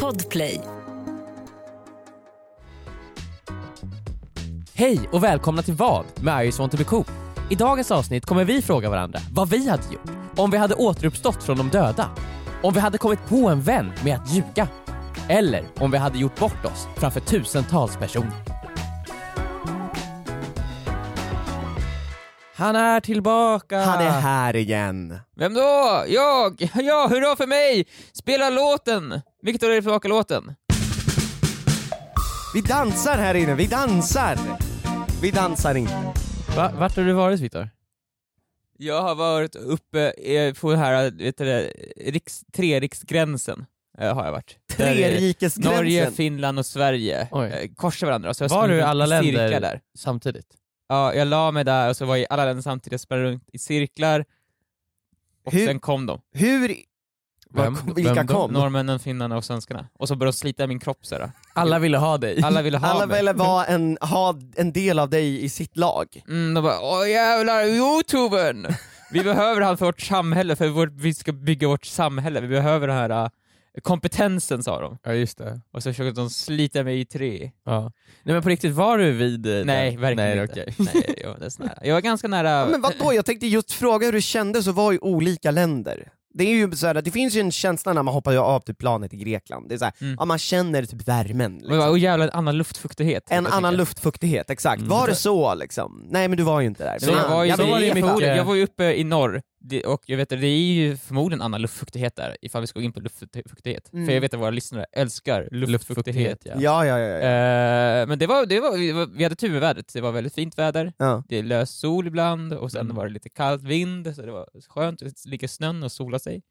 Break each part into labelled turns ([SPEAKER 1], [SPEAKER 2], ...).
[SPEAKER 1] Podplay.
[SPEAKER 2] Hej och välkomna till Vad med I just want to be cool. I dagens avsnitt kommer vi fråga varandra vad vi hade gjort om vi hade återuppstått från de döda. Om vi hade kommit på en vän med att ljuga. Eller om vi hade gjort bort oss framför tusentals personer. Han är tillbaka!
[SPEAKER 3] Han
[SPEAKER 4] Ah.
[SPEAKER 3] är här igen.
[SPEAKER 4] Vem då? Jag! Ja, hurra för mig! Spela låten! Viktor är tillbaka låten.
[SPEAKER 3] Vi dansar här inne, vi dansar! Vi dansar inte.
[SPEAKER 2] Va, vart har du varit Viktor?
[SPEAKER 4] Jag har varit uppe eh, på den här, vet du det, riks, treriksgränsen eh, har jag varit. Där, eh,
[SPEAKER 3] Trerikesgränsen.
[SPEAKER 4] Norge, Finland och Sverige
[SPEAKER 2] Oj.
[SPEAKER 4] eh, korsar varandra. Så jag
[SPEAKER 2] Var
[SPEAKER 4] sprang
[SPEAKER 2] du i
[SPEAKER 4] runt
[SPEAKER 2] alla
[SPEAKER 4] cirklar
[SPEAKER 2] länder?
[SPEAKER 4] Där.
[SPEAKER 2] Samtidigt.
[SPEAKER 4] Ja, jag la mig där och så var jag i alla länder samtidigt, jag sprang runt i cirklar och
[SPEAKER 3] Hur-
[SPEAKER 4] sen kom de.
[SPEAKER 3] Hur... Vad
[SPEAKER 2] Vem-
[SPEAKER 3] kom- vilka
[SPEAKER 2] vem då?
[SPEAKER 3] kom?
[SPEAKER 4] Norrmännen, finnarna och svenskarna. Och så började de slita i min kropp sådär.
[SPEAKER 2] Alla ville ha dig.
[SPEAKER 4] Alla ville ha
[SPEAKER 3] Alla
[SPEAKER 4] mig.
[SPEAKER 3] ville vara en, ha en del av dig i sitt lag.
[SPEAKER 4] Mm, de bara åh jävlar, youtubern! Vi behöver han för vårt samhälle, för vårt, vi ska bygga vårt samhälle. Vi behöver den här äh, kompetensen sa de.
[SPEAKER 2] Ja just det.
[SPEAKER 4] Och så försökte de slita mig i tre.
[SPEAKER 2] Ja. Nej men på riktigt, var du vid... eh,
[SPEAKER 4] Nej,
[SPEAKER 2] den?
[SPEAKER 4] verkligen
[SPEAKER 2] Nej,
[SPEAKER 4] inte.
[SPEAKER 2] okej.
[SPEAKER 4] Nej, jag var nästan nära. Jag var ganska
[SPEAKER 3] Ja,
[SPEAKER 4] nära.
[SPEAKER 3] men vadå, jag tänkte just fråga hur det kändes att vara i olika länder. Det, är ju så här, det finns ju en känsla när man hoppar av typ planet i Grekland, det är så här,
[SPEAKER 4] Mm.
[SPEAKER 3] ja, man känner typ värmen.
[SPEAKER 4] Men bara,
[SPEAKER 3] Liksom.
[SPEAKER 4] åh jävlar, en annan luftfuktighet.
[SPEAKER 3] En
[SPEAKER 4] Jag
[SPEAKER 3] annan
[SPEAKER 4] tänker.
[SPEAKER 3] luftfuktighet, exakt.
[SPEAKER 2] Mm.
[SPEAKER 3] Var det så liksom? Nej men du var ju inte där.
[SPEAKER 4] Så jag, var ju,
[SPEAKER 2] Ja,
[SPEAKER 3] jag
[SPEAKER 2] så var det ju
[SPEAKER 3] vet.
[SPEAKER 2] mycket.
[SPEAKER 4] förmodligen- jag var ju uppe i norr, Det- och jag vet att det är ju förmodligen annan luftfuktighet där, ifall vi ska gå in på luftfuktighet.
[SPEAKER 3] Mm.
[SPEAKER 4] För jag vet att våra lyssnare älskar luftfuktighet.
[SPEAKER 2] Luftfuktighet ja.
[SPEAKER 3] Ja, ja, ja. ja.
[SPEAKER 4] Eh, men det var, det var, vi var- vi hade tur med vädret, det var väldigt fint väder.
[SPEAKER 3] ja.
[SPEAKER 4] det är lös sol ibland och sen
[SPEAKER 2] Mm.
[SPEAKER 4] var det lite kallt vind, så det var skönt att ligga i snön och sola sig.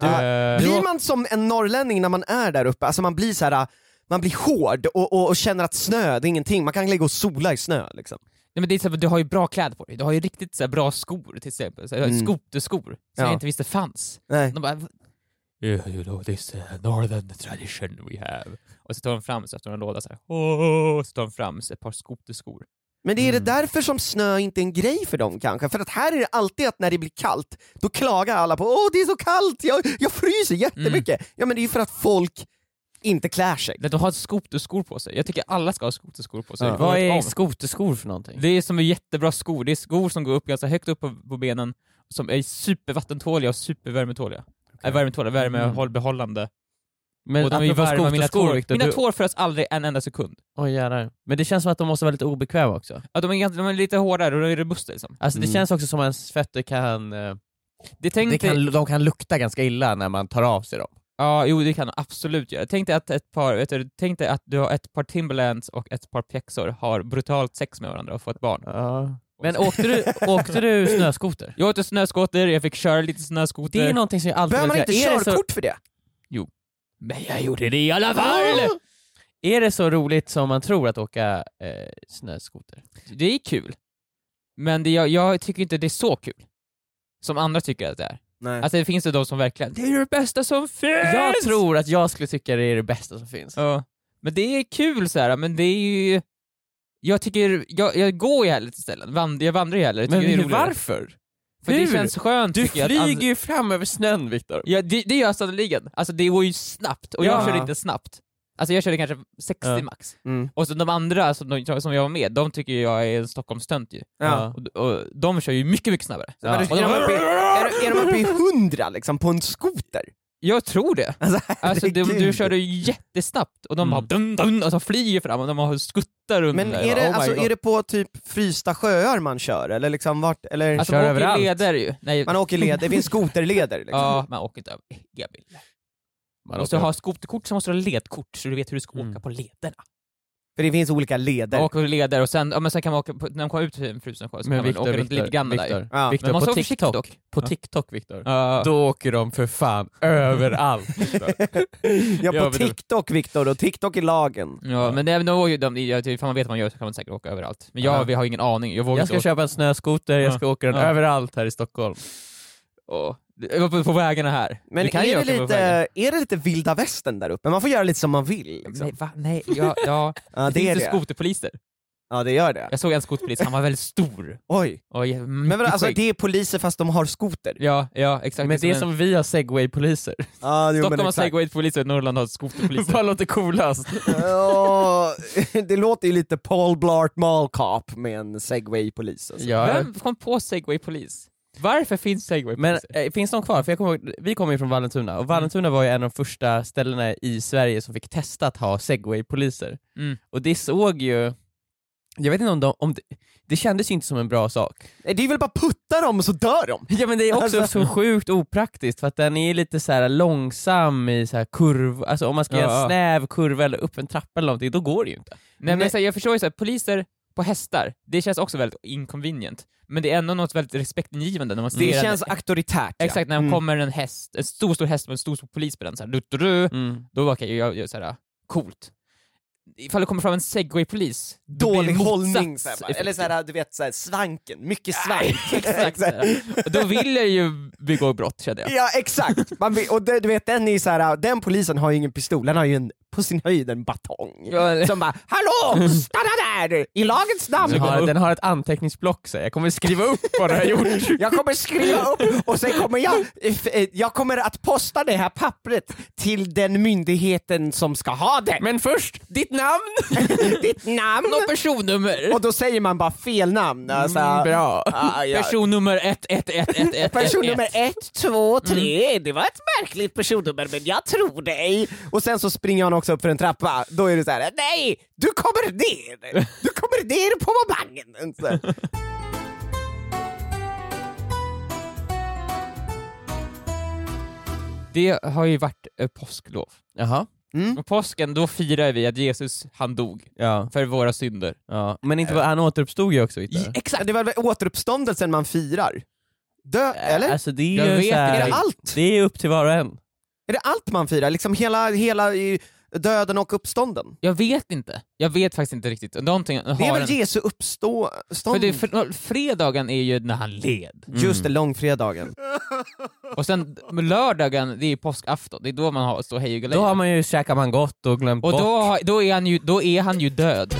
[SPEAKER 3] Du-
[SPEAKER 4] Eh,
[SPEAKER 3] Blir man som en norrlänning när man är där uppe? Alltså man blir så här, man blir hård och, och, och känner att snö, det är ingenting. Man kan ligga och sola i snö liksom.
[SPEAKER 4] nej, men det är så här, du har ju bra kläder på dig, du har ju riktigt så här, bra skor till exempel, så här,
[SPEAKER 3] Mm.
[SPEAKER 4] skoterskor som
[SPEAKER 3] Ja.
[SPEAKER 4] jag inte visste fanns.
[SPEAKER 3] Nej.
[SPEAKER 4] De bara, "Va- "Yeah, you know this eh, northern tradition we have. Och så tar de fram så efter en låda så här, "Åh", så tar de fram så ett par skoterskor.
[SPEAKER 3] Men det är det
[SPEAKER 2] Mm.
[SPEAKER 3] därför som snö inte är en grej för dem kanske? För att här är det alltid att när det blir kallt, då klagar alla på åh det är så kallt, jag, jag fryser jättemycket. Ja men det är ju för att folk inte klär sig.
[SPEAKER 4] Nej, De har skoterskor på sig, jag tycker alla ska ha skoterskor på sig.
[SPEAKER 3] Ja.
[SPEAKER 2] Vad
[SPEAKER 4] året
[SPEAKER 2] är
[SPEAKER 4] om.
[SPEAKER 2] skoterskor för någonting?
[SPEAKER 4] Det är som är jättebra skor, det är skor som går upp ganska högt upp på, på benen, som är supervattentåliga och supervärmetåliga. Okay. Äh, värmetåliga, värmehållbehållande.
[SPEAKER 2] Mm. Men
[SPEAKER 4] och de är varma, mina tår,
[SPEAKER 2] Viktor,
[SPEAKER 4] mina
[SPEAKER 2] du-
[SPEAKER 4] tår frös aldrig en enda sekund.
[SPEAKER 2] Oj jävlar. Men det känns som att de måste vara lite obekväma också.
[SPEAKER 4] Ja, de, är, ganska- de är lite hårdare och de är robusta liksom.
[SPEAKER 2] Alltså det
[SPEAKER 3] Mm.
[SPEAKER 2] känns också som att ens fötter kan, eh,
[SPEAKER 4] Det tänkte,
[SPEAKER 2] det kan... De kan lukta ganska illa när man tar av sig dem.
[SPEAKER 4] Ja, jo det kan de absolut göra. Tänk dig att ett par, vet du, tänk dig att du har ett par Timberlands och ett par pjäxor har brutalt sex med varandra och får ett barn.
[SPEAKER 2] Men åkte du, åkte du snöskoter?
[SPEAKER 4] Jag åkte snöskoter, jag fick köra lite snöskoter.
[SPEAKER 2] Det är någonting som jag alltid
[SPEAKER 3] Behöver man
[SPEAKER 2] velat
[SPEAKER 3] inte
[SPEAKER 2] göra. Är det så-
[SPEAKER 3] körkort för det?
[SPEAKER 4] Men jag gjorde det i alla fall!
[SPEAKER 2] Är det så roligt som man tror att åka eh, snöskoter?
[SPEAKER 4] Det är kul. Men det, jag, jag tycker inte det är så kul. Som andra tycker att det är.
[SPEAKER 3] Nej.
[SPEAKER 4] Alltså det finns ju de som verkligen, det är det bästa som finns!
[SPEAKER 2] Jag tror att jag skulle tycka det är det bästa som finns.
[SPEAKER 4] Ja. Men det är kul så här. men det är ju... Jag tycker, jag, jag går ju hellre till ställen, Vand, jag vandrar ju hellre. Jag
[SPEAKER 2] Men
[SPEAKER 4] tycker det är
[SPEAKER 2] hur-
[SPEAKER 4] roligare.
[SPEAKER 2] varför?
[SPEAKER 4] För
[SPEAKER 2] Hur?
[SPEAKER 4] det känns skönt
[SPEAKER 2] Du
[SPEAKER 4] tycker jag.
[SPEAKER 2] flyger ju fram över snön Viktor.
[SPEAKER 4] Ja, det, det gör jag sannoliken. Alltså det går ju snabbt, och
[SPEAKER 3] Ja.
[SPEAKER 4] jag körde inte snabbt. Alltså jag körde kanske 60
[SPEAKER 2] Ja.
[SPEAKER 4] max.
[SPEAKER 3] Mm.
[SPEAKER 4] Och så de andra som, de, som jag var med, de tycker ju jag är en Stockholmstönt ju.
[SPEAKER 3] Ja.
[SPEAKER 4] Och, och de kör ju mycket, mycket snabbare.
[SPEAKER 3] Så men
[SPEAKER 2] Ja.
[SPEAKER 3] du- Är, de uppe i, är, är de uppe i hundra liksom på en skoter?
[SPEAKER 4] Jag tror det.
[SPEAKER 3] Alltså,
[SPEAKER 4] Alltså du,
[SPEAKER 3] herregud.
[SPEAKER 4] du körde ju jättesnabbt och de
[SPEAKER 2] Mm.
[SPEAKER 4] bara dun, dun, och så flyger fram och de har skuttar runt
[SPEAKER 3] Men
[SPEAKER 4] där.
[SPEAKER 3] är
[SPEAKER 4] Jag bara,
[SPEAKER 3] det,
[SPEAKER 4] Oh my
[SPEAKER 3] alltså,
[SPEAKER 4] God.
[SPEAKER 3] är det på typ frysta sjöar man kör eller liksom vart, eller?
[SPEAKER 4] alltså,
[SPEAKER 2] Kör
[SPEAKER 4] man åker
[SPEAKER 2] överallt.
[SPEAKER 4] leder ju. Nej,
[SPEAKER 3] Typ. man åker led, det finns skoterleder liksom.
[SPEAKER 4] ja, man åker inte över e-bil.
[SPEAKER 2] Man
[SPEAKER 4] måste
[SPEAKER 2] åker-
[SPEAKER 4] du ha skoterkort så måste du ha ledkort så du vet hur du ska
[SPEAKER 2] Mm.
[SPEAKER 4] åka på lederna.
[SPEAKER 3] För det finns olika leder.
[SPEAKER 4] Man åker på leder och sen, ja, men sen kan man åka, på, när man kommer ut till en frusen sjö så
[SPEAKER 2] Men
[SPEAKER 4] kan
[SPEAKER 2] Viktor,
[SPEAKER 4] man åka runt
[SPEAKER 2] Viktor,
[SPEAKER 4] lite grann där.
[SPEAKER 2] Viktor,
[SPEAKER 3] Ja.
[SPEAKER 2] Viktor
[SPEAKER 4] Men man
[SPEAKER 2] på
[SPEAKER 4] ska vara försiktig
[SPEAKER 2] TikTok, på
[SPEAKER 4] Ja.
[SPEAKER 2] TikTok Viktor,
[SPEAKER 4] Ja.
[SPEAKER 2] då åker de för fan överallt. Viktor.
[SPEAKER 3] Ja,
[SPEAKER 2] Ja,
[SPEAKER 3] på
[SPEAKER 2] men du-
[SPEAKER 3] TikTok Viktor, och TikTok är lagen.
[SPEAKER 4] Ja, men det, de, de, de, jag- ifall man vet vad man gör så kan man säkert åka överallt. Men jag
[SPEAKER 2] Ja.
[SPEAKER 4] vi har ingen aning, jag vågar
[SPEAKER 2] jag ska
[SPEAKER 4] inte
[SPEAKER 2] köpa en snöskoter, jag
[SPEAKER 4] Ja.
[SPEAKER 2] ska åka den
[SPEAKER 4] Ja.
[SPEAKER 2] överallt här i Stockholm.
[SPEAKER 4] åka. Åh, På, på vägarna här.
[SPEAKER 3] Men
[SPEAKER 4] du kan ju
[SPEAKER 3] är, det
[SPEAKER 4] åka på vägarna.
[SPEAKER 3] lite, är det lite vilda västern där uppe? Man får göra lite som man vill. Liksom.
[SPEAKER 4] Nej, va? Nej, ja, ja.
[SPEAKER 3] Ja,
[SPEAKER 4] det
[SPEAKER 3] det är
[SPEAKER 4] finns ju
[SPEAKER 3] det.
[SPEAKER 4] skoterpoliser.
[SPEAKER 3] Ja det gör det.
[SPEAKER 4] Jag såg en skoterpolis, han var väldigt stor.
[SPEAKER 3] Oj.
[SPEAKER 4] Och
[SPEAKER 3] Men vadå, alltså, det är poliser fast de har skoter?
[SPEAKER 4] Ja, ja exakt.
[SPEAKER 2] Men det är
[SPEAKER 4] en-
[SPEAKER 2] som vi har segway-poliser.
[SPEAKER 3] Ja, jo,
[SPEAKER 4] Stockholm har
[SPEAKER 3] exakt.
[SPEAKER 4] segwaypoliser, Norrland har skoterpoliser.
[SPEAKER 2] Vad låter coolast?
[SPEAKER 3] Ja, det låter ju lite Paul Blart Mall Cop med en segway-polis. Alltså.
[SPEAKER 2] ja.
[SPEAKER 4] Vem kom på segwaypolis? Varför finns
[SPEAKER 2] Men
[SPEAKER 4] segwaypoliser?
[SPEAKER 2] eh, finns de kvar? För jag kommer ihåg, vi kommer ju från Vallentuna, och Vallentuna var ju en av de första ställena i Sverige som fick testa att ha segway-poliser.
[SPEAKER 4] Mm.
[SPEAKER 2] Och det såg ju... Jag vet inte om de... Om det, det kändes ju inte som en bra sak.
[SPEAKER 3] Nej, Det är väl bara putta dem och så dör de!
[SPEAKER 2] Ja men det är också
[SPEAKER 3] Alltså-
[SPEAKER 2] så sjukt opraktiskt för att den är lite så här långsam i så här kurv, alltså om man ska göra
[SPEAKER 4] Ja.
[SPEAKER 2] en snäv kurva eller upp en trappa eller någonting, då går det ju inte.
[SPEAKER 4] Nej,
[SPEAKER 3] Nej.
[SPEAKER 4] men så här, jag förstår ju såhär, poliser på hästar, det känns också väldigt inconvenient. Men det är ändå något väldigt respektingivande när man ser
[SPEAKER 3] Det
[SPEAKER 4] en-
[SPEAKER 3] känns auktoritärt. ja.
[SPEAKER 4] Exakt, när det
[SPEAKER 3] Mm.
[SPEAKER 4] kommer en häst, en stor stor häst med en stor stor polis på den, så här, du, du,
[SPEAKER 2] Mm.
[SPEAKER 4] du, då var jag, jag, jag såhär, coolt. Ifall det kommer fram en segwaypolis, då blir
[SPEAKER 3] Dålig
[SPEAKER 4] det
[SPEAKER 3] hållning,
[SPEAKER 4] motsats
[SPEAKER 3] så här, bara.
[SPEAKER 4] effekt.
[SPEAKER 3] eller så här, du vet så här, svanken, mycket svank.
[SPEAKER 4] Exakt.
[SPEAKER 3] Exakt.
[SPEAKER 4] Och då vill jag ju begå brott kände jag.
[SPEAKER 3] Ja exakt! Man, vill- och det, du vet, den, är ju så här, den polisen har ju ingen pistol, han har ju en, på sin höjd en batong.
[SPEAKER 4] Ja, eller-
[SPEAKER 3] Som bara “Hallå! Stanna där! I lagens namn!”
[SPEAKER 2] Den
[SPEAKER 4] kommer
[SPEAKER 2] har,
[SPEAKER 4] upp.
[SPEAKER 2] den har ett anteckningsblock så här. jag kommer skriva upp vad den har gjort.
[SPEAKER 3] Jag kommer skriva upp och sen kommer jag, if- eh, jag kommer att posta det här pappret till den myndigheten som ska ha det.
[SPEAKER 2] Men först, ditt namn!
[SPEAKER 3] Ditt namn!
[SPEAKER 4] Något personnummer!
[SPEAKER 3] Och då säger man bara fel namn. Alltså,
[SPEAKER 2] Bra.
[SPEAKER 3] Ah, ja.
[SPEAKER 4] Personnummer 111111.
[SPEAKER 3] Personnummer ett, två, tre. det var ett märkligt personnummer men jag tror dig. Och sen så springer han också upp för en trappa, då är det så här: nej, du kommer ner! Du kommer ner på mobangen! Så här.
[SPEAKER 4] Det har ju varit eh, påsklov. Mm.
[SPEAKER 2] Jaha. Mm.
[SPEAKER 4] Och påsken, då firar vi att Jesus, han dog.
[SPEAKER 2] Ja.
[SPEAKER 4] För våra synder.
[SPEAKER 2] ja. Men inte, han återuppstod ju också Victor.
[SPEAKER 3] Exakt. Det var väl återuppståndelsen man firar? Dö, eller?
[SPEAKER 2] Alltså det är
[SPEAKER 4] Jag
[SPEAKER 2] ju
[SPEAKER 4] vet,
[SPEAKER 2] så här,
[SPEAKER 3] är det allt?
[SPEAKER 2] Det är upp till var och en.
[SPEAKER 3] Är det allt man firar? Liksom hela, hela eh, döden och uppstånden?
[SPEAKER 4] Jag vet inte. Jag vet faktiskt inte riktigt. Någonting har
[SPEAKER 3] Det är
[SPEAKER 4] en-
[SPEAKER 3] väl Jesu uppstå...
[SPEAKER 4] för
[SPEAKER 3] Stånd...
[SPEAKER 4] det, för, fredagen är ju när han led.
[SPEAKER 3] Just det, långfredagen.
[SPEAKER 4] Och sen lördagen, det är påskafton. Det är då man har står hej och
[SPEAKER 2] Då har
[SPEAKER 4] galej.
[SPEAKER 2] man ju käkat man gott och glömt
[SPEAKER 4] Och
[SPEAKER 2] bort.
[SPEAKER 4] då, har- då, är han ju, då är han ju död.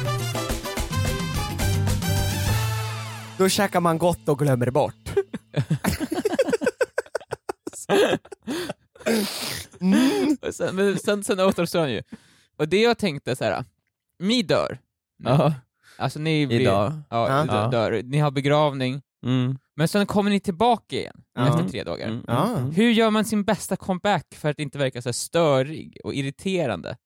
[SPEAKER 3] Då käkar man gott och glömmer bort.
[SPEAKER 4] Och sen, men sen, sen återuppstår han ju. Och det jag tänkte så här. ni dör.
[SPEAKER 2] Ja.
[SPEAKER 4] Alltså ni blir,
[SPEAKER 2] Idag.
[SPEAKER 4] Ja,
[SPEAKER 3] Ja.
[SPEAKER 4] dö- dör. Ni har begravning,
[SPEAKER 2] Mm.
[SPEAKER 4] men sen kommer ni tillbaka igen
[SPEAKER 3] Ja.
[SPEAKER 4] efter tre dagar.
[SPEAKER 2] Mm.
[SPEAKER 3] Ja.
[SPEAKER 4] Hur gör man sin bästa comeback för att inte verka så här störig och irriterande?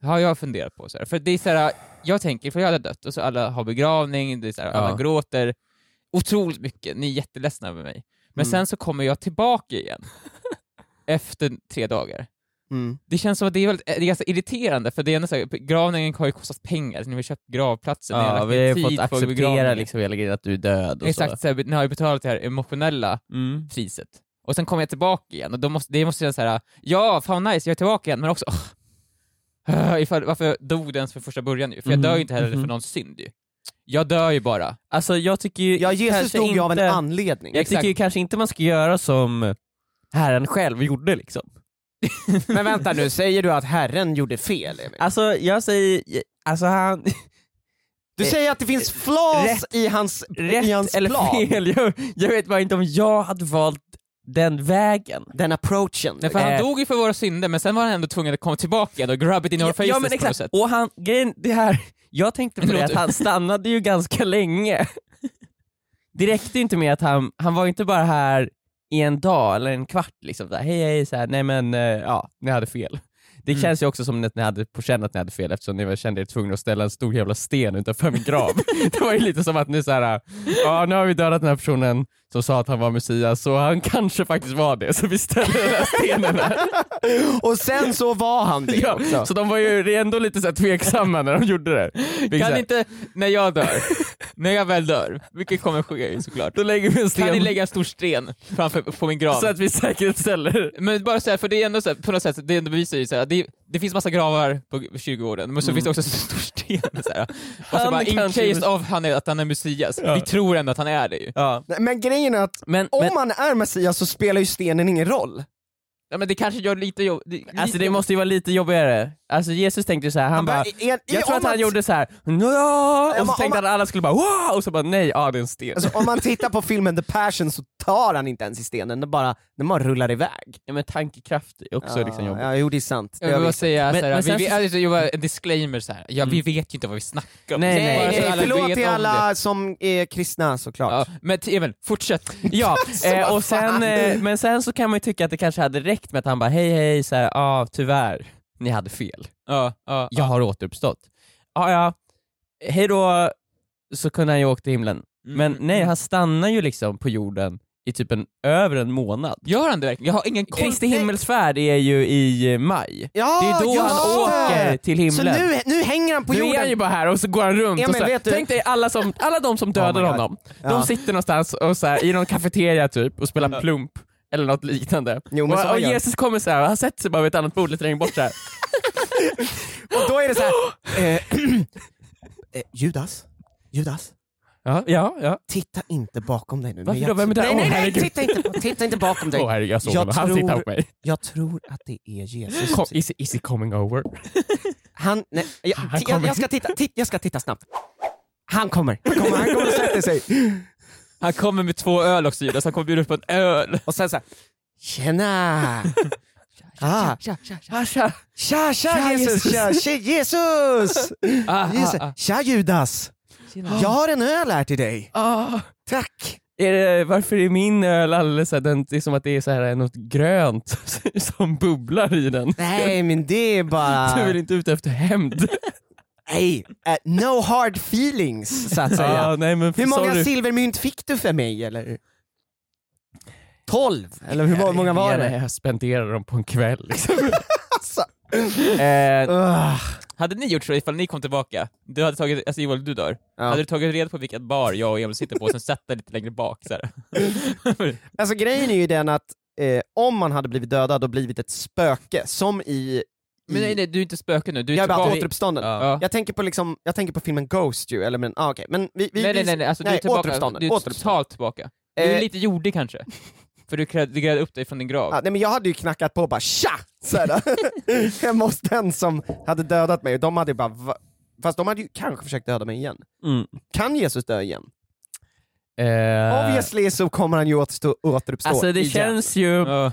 [SPEAKER 4] Det har jag funderat på. Så här. För det är så här, jag tänker, för jag hade dött och så alla har begravning, det är så här, alla
[SPEAKER 2] Ja.
[SPEAKER 4] gråter otroligt mycket, ni är jätteledsna över mig. Men
[SPEAKER 3] Mm.
[SPEAKER 4] sen så kommer jag tillbaka igen efter tre dagar.
[SPEAKER 3] Mm.
[SPEAKER 4] Det känns som att det är, väldigt, det är ganska irriterande, för det är ändå så här, begravningen har ju kostat pengar, så ni har köpt gravplatsen, ni har
[SPEAKER 2] Ja,
[SPEAKER 4] lagt
[SPEAKER 2] vi
[SPEAKER 4] ner
[SPEAKER 2] har
[SPEAKER 4] tid
[SPEAKER 2] ju fått
[SPEAKER 4] på
[SPEAKER 2] acceptera
[SPEAKER 4] begravningen.
[SPEAKER 2] liksom hela grejen att du är död och
[SPEAKER 4] Exakt,
[SPEAKER 2] så.
[SPEAKER 4] så här, ni har ju betalat det här emotionella
[SPEAKER 2] Mm.
[SPEAKER 4] priset. Och sen kommer jag tillbaka igen och då måste, det måste kännas såhär, ja fan nice, jag är tillbaka igen, men också oh, ifall, varför dog den för första början ju? För jag
[SPEAKER 2] Mhm,
[SPEAKER 4] dör ju inte heller
[SPEAKER 2] mhm.
[SPEAKER 4] för någon synd ju. Jag dör ju bara.
[SPEAKER 2] Alltså jag tycker ju
[SPEAKER 3] Ja, Jesus
[SPEAKER 2] kanske
[SPEAKER 3] dog ju
[SPEAKER 2] inte...
[SPEAKER 3] av en anledning.
[SPEAKER 2] Jag tycker ju kanske inte man ska göra som Herren själv gjorde liksom.
[SPEAKER 3] Men vänta nu, säger du att Herren gjorde fel? Emil?
[SPEAKER 2] Alltså jag säger, alltså han,
[SPEAKER 3] Du säger att det finns flas i hans, i hans
[SPEAKER 2] rätt eller
[SPEAKER 3] plan?
[SPEAKER 2] fel, jag, jag vet bara inte om jag hade valt den vägen.
[SPEAKER 3] Den approachen.
[SPEAKER 4] Nej, för han
[SPEAKER 2] Eh.
[SPEAKER 4] dog ju för våra synder, men sen var han ändå tvungen att komma tillbaka igen och grab it in our faces
[SPEAKER 2] ja men
[SPEAKER 4] på något
[SPEAKER 2] exakt,
[SPEAKER 4] sätt.
[SPEAKER 2] och han, grejen, det här, jag tänkte på
[SPEAKER 4] Det
[SPEAKER 2] det att
[SPEAKER 4] låter-
[SPEAKER 2] han stannade ju ganska länge. Det räckte inte med att han, han var ju inte bara här i en dag eller en kvart liksom, så här, hej hej, så här, nej men eh, ja, ni hade fel. Det
[SPEAKER 4] Mm.
[SPEAKER 2] känns ju också som att ni hade på känn att ni hade fel eftersom ni var- kände er tvungna att ställa en stor jävla sten utanför min grav. det var ju lite som att ni såhär, ja nu har vi dödat den här personen som sa att han var Messias så han kanske faktiskt var det så vi ställer den här stenen här.
[SPEAKER 3] Och sen så var han det
[SPEAKER 2] Ja,
[SPEAKER 3] också.
[SPEAKER 2] så de var ju ändå lite så här tveksamma när de gjorde det. Vilket så
[SPEAKER 4] Kan
[SPEAKER 2] här,
[SPEAKER 4] inte, när jag dör, när jag väl dör, vilket kommer ske ju såklart,
[SPEAKER 2] Då lägger vi en sten
[SPEAKER 4] kan ni lägga en stor sten framför, på min grav?
[SPEAKER 2] så att vi säkerställer.
[SPEAKER 4] Men bara så här, för det är ändå så här, på något sätt, det ändå bevisar ju så här, det, det finns massa gravar på g- kyrkogården, men så finns det också en stor sten så här. Och så
[SPEAKER 2] Mm. Han
[SPEAKER 4] bara, in
[SPEAKER 2] kanske
[SPEAKER 4] case
[SPEAKER 2] är mus-
[SPEAKER 4] of han är, att han är Messias, vi tror ändå att han är det ju.
[SPEAKER 2] Ja.
[SPEAKER 3] Nej, Men grejen är att
[SPEAKER 2] Men,
[SPEAKER 3] om
[SPEAKER 2] men
[SPEAKER 3] man är Messias så spelar ju stenen ingen roll.
[SPEAKER 4] Ja men det kanske gör lite jobb... Det,
[SPEAKER 2] alltså
[SPEAKER 4] lite
[SPEAKER 2] det måste ju vara lite jobbigare. Alltså Jesus tänkte så här, han,
[SPEAKER 3] Han bara,
[SPEAKER 2] bara,
[SPEAKER 3] i- i-
[SPEAKER 2] jag tror
[SPEAKER 3] om
[SPEAKER 2] att han
[SPEAKER 3] att-
[SPEAKER 2] gjorde så här, "Nja",
[SPEAKER 3] Ja,
[SPEAKER 2] och så
[SPEAKER 3] men om
[SPEAKER 2] tänkte
[SPEAKER 3] man-
[SPEAKER 2] han att alla skulle bara wow, och så bara nej, ja det är en sten.
[SPEAKER 3] Alltså, om man tittar på filmen The Passion så tar han inte ens i stenen, den bara, den bara rullar iväg.
[SPEAKER 2] ja, men tankekraft är också liksom jobbigt.
[SPEAKER 3] ja, jo det är sant. Det
[SPEAKER 4] Jag vill
[SPEAKER 3] har
[SPEAKER 4] bara
[SPEAKER 3] vi-
[SPEAKER 4] säga
[SPEAKER 2] Men-
[SPEAKER 4] såhär,
[SPEAKER 2] liksom- men
[SPEAKER 4] vi,
[SPEAKER 2] sen
[SPEAKER 4] vi,
[SPEAKER 2] så- Mm.
[SPEAKER 4] alltså, jag bara, en disclaimer såhär, ja vi vet ju inte vad vi snackar om.
[SPEAKER 2] Nej, Eh,
[SPEAKER 4] Bara
[SPEAKER 3] Nej,
[SPEAKER 4] så
[SPEAKER 3] nej,
[SPEAKER 4] att alla
[SPEAKER 3] förlåt
[SPEAKER 4] vet
[SPEAKER 3] till
[SPEAKER 4] om
[SPEAKER 3] alla
[SPEAKER 4] det.
[SPEAKER 3] som är kristna såklart.
[SPEAKER 4] Ja, men t- Emil, fortsätt.
[SPEAKER 2] Ja, eh,
[SPEAKER 3] vad
[SPEAKER 2] och sen,
[SPEAKER 3] fan.
[SPEAKER 2] eh, men sen så kan man ju tycka att det kanske hade räckt med att han bara hej hej, så här, ah, tyvärr, ni hade fel.
[SPEAKER 4] Ja, ja,
[SPEAKER 2] Jag
[SPEAKER 4] ja.
[SPEAKER 2] har återuppstått. Ah, ja, hej då, så kunde han ju åkt till himlen. Men
[SPEAKER 4] Mm.
[SPEAKER 2] nej, han stannar ju liksom på jorden i typ en, över en månad.
[SPEAKER 4] Gör han det verkligen? Jag har ingen koll. Ah,
[SPEAKER 2] Kristi himmelsfärd är ju i eh, maj.
[SPEAKER 3] Ja,
[SPEAKER 2] Det är då
[SPEAKER 3] just
[SPEAKER 2] han åker
[SPEAKER 3] det.
[SPEAKER 2] till
[SPEAKER 3] Så
[SPEAKER 2] himlen.
[SPEAKER 3] nu, nu hänger han på
[SPEAKER 2] nu är
[SPEAKER 3] jorden.
[SPEAKER 2] han ju bara här och så går han runt
[SPEAKER 3] Emil,
[SPEAKER 2] och så här,
[SPEAKER 3] vet du-
[SPEAKER 2] Tänk dig alla, som, alla de som dödar
[SPEAKER 3] Oh my God.
[SPEAKER 2] honom.
[SPEAKER 3] Ja.
[SPEAKER 2] De sitter någonstans och så här, i någon kafeteria typ och spelar plump eller något liknande.
[SPEAKER 3] Jo, men så
[SPEAKER 2] och, och
[SPEAKER 3] gör.
[SPEAKER 2] Jesus kommer så här, och han sätter sig bara vid ett annat bord lite längre bort så här.
[SPEAKER 3] Och då är det så här, eh, eh, Judas, Judas,
[SPEAKER 2] Ja, ja, ja.
[SPEAKER 3] titta inte bakom dig nu.
[SPEAKER 2] Varför
[SPEAKER 3] Men
[SPEAKER 2] då? Vem är där?
[SPEAKER 3] Nej,
[SPEAKER 2] Åh,
[SPEAKER 3] nej, nej,
[SPEAKER 2] herregud.
[SPEAKER 3] titta inte, titta inte bakom dig.
[SPEAKER 2] Åh herregud, jag såg
[SPEAKER 3] Jag
[SPEAKER 2] honom. Han
[SPEAKER 3] tror-
[SPEAKER 2] tittar på mig.
[SPEAKER 3] Jag tror att det är Jesus.
[SPEAKER 2] Kom, is, is he coming over?
[SPEAKER 3] Han, nej, jag,
[SPEAKER 2] Han
[SPEAKER 3] jag,
[SPEAKER 2] kommer.
[SPEAKER 3] jag, ska titta, titt, jag ska titta snabbt. Han kommer, han kommer, han kommer och sätter sig.
[SPEAKER 4] Han kommer med två öl också Judas, han kommer bjuda upp på en öl.
[SPEAKER 3] Och sen så här, tjena! Ah,
[SPEAKER 2] Tja, tja.
[SPEAKER 3] tja, tja Jesus, tja, tja Jesus!
[SPEAKER 4] Ah,
[SPEAKER 3] Jesus.
[SPEAKER 4] ah, ah.
[SPEAKER 3] Tja Judas! Jag har en öl här till dig. Tack!
[SPEAKER 2] Är det, varför är min öl alldeles så här, den, det är som att det är så här, något grönt som bubblar i den?
[SPEAKER 3] Nej men det är bara...
[SPEAKER 2] Du är inte ute efter hämnd?
[SPEAKER 3] Nej, eh, no hard feelings så att
[SPEAKER 2] Ja,
[SPEAKER 3] säga.
[SPEAKER 2] nej, men
[SPEAKER 3] Ah, Hur många
[SPEAKER 2] Ah, sorry.
[SPEAKER 3] silvermynt fick du för mig eller? 12? Eller hur var- många var
[SPEAKER 2] Nej,
[SPEAKER 3] det?
[SPEAKER 2] Jag spenderade dem på en kväll. Liksom.
[SPEAKER 3] Alltså.
[SPEAKER 4] Eh,
[SPEAKER 3] ugh.
[SPEAKER 4] hade ni gjort så ifall ni kom tillbaka? Du hade tagit, alltså Joel du dör.
[SPEAKER 3] Ja.
[SPEAKER 4] Hade du tagit reda på vilket bar jag och Emil sitter på och sen satt dig lite längre bak så här.
[SPEAKER 3] Alltså grejen är ju den att eh, om man hade blivit dödad och blivit ett spöke, som i... i
[SPEAKER 4] Men nej, nej, du är inte spöke nu, du är
[SPEAKER 3] jag är bara
[SPEAKER 4] tillbaka.
[SPEAKER 3] återuppstånden.
[SPEAKER 4] Ja.
[SPEAKER 3] Jag, tänker på liksom, jag tänker på filmen Ghost ju, eller men, ah, okej. men vi, vi,
[SPEAKER 4] nej, nej,
[SPEAKER 3] vi-
[SPEAKER 4] nej, nej, alltså, du är
[SPEAKER 3] nej,
[SPEAKER 4] tillbaka,
[SPEAKER 3] återuppstånden,
[SPEAKER 4] du är
[SPEAKER 3] återuppstånden.
[SPEAKER 4] totalt tillbaka. Du är
[SPEAKER 3] Eh,
[SPEAKER 4] lite jordig kanske? För du grävde du grävde upp dig från din grav.
[SPEAKER 3] Ja, nej men jag hade ju knackat på och bara tja! Såhär, hemma hos den som hade dödat mig och de hade ju bara va? Fast de hade ju kanske försökt döda mig igen.
[SPEAKER 2] Mm.
[SPEAKER 3] Kan Jesus dö igen?
[SPEAKER 2] Eh,
[SPEAKER 3] Obviously så kommer han ju återstå, återuppstå
[SPEAKER 2] alltså det
[SPEAKER 3] igen.
[SPEAKER 2] känns ju...
[SPEAKER 4] Ja.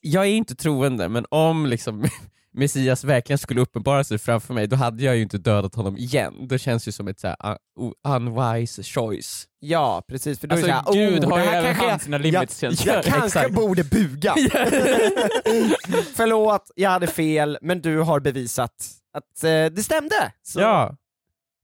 [SPEAKER 2] jag är inte troende, men om liksom Messias verkligen skulle uppenbara sig framför mig, då hade jag ju inte dödat honom igen. Det känns ju som ett så här un- unwise choice.
[SPEAKER 3] Ja precis, för då
[SPEAKER 4] Alltså
[SPEAKER 3] är det såhär,
[SPEAKER 4] gud
[SPEAKER 3] oh,
[SPEAKER 4] har
[SPEAKER 3] det
[SPEAKER 4] ju
[SPEAKER 3] här
[SPEAKER 4] även
[SPEAKER 3] kanske
[SPEAKER 4] han sina limits
[SPEAKER 2] jag-
[SPEAKER 4] känns det.
[SPEAKER 3] Jag kanske
[SPEAKER 2] Exakt.
[SPEAKER 3] borde buga. Förlåt, jag hade fel, men du har bevisat att eh, det stämde. Så.
[SPEAKER 2] Ja.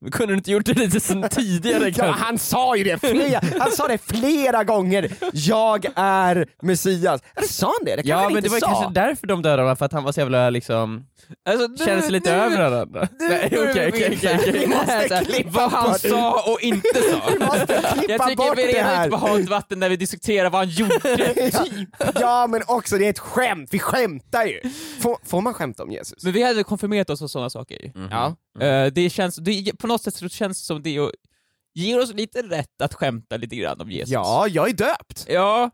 [SPEAKER 2] Men kunde du inte gjort det lite sen tidigare
[SPEAKER 3] Ja,
[SPEAKER 2] kanske?
[SPEAKER 3] han sa ju det flera, han sa det flera gånger. Jag är Messias. Eller sa han det? Det kanske
[SPEAKER 2] Ja,
[SPEAKER 3] han
[SPEAKER 2] men
[SPEAKER 3] inte
[SPEAKER 2] det var ju
[SPEAKER 3] sa.
[SPEAKER 2] kanske därför de dödade honom, för att han var så jävla liksom,
[SPEAKER 4] Alltså,
[SPEAKER 2] kändes lite över varandra. Nej, okej, okej, okej, okej.
[SPEAKER 4] Vad han sa och inte sa. Jag
[SPEAKER 3] Klippa
[SPEAKER 4] tycker
[SPEAKER 3] bort
[SPEAKER 4] vi
[SPEAKER 3] det
[SPEAKER 4] redan
[SPEAKER 3] här.
[SPEAKER 4] ut på halt vatten där vi diskuterar vad han gjorde.
[SPEAKER 3] Ja. ja men också det är ett skämt, vi skämtar ju. Får, får man skämta om Jesus?
[SPEAKER 4] Men vi hade konfirmerat oss och sådana saker ju.
[SPEAKER 3] Ja.
[SPEAKER 4] Eh, det känns, det, på något sätt så känns det som det och ger oss lite rätt att skämta lite grann om Jesus.
[SPEAKER 3] Ja, jag är döpt.
[SPEAKER 4] Ja,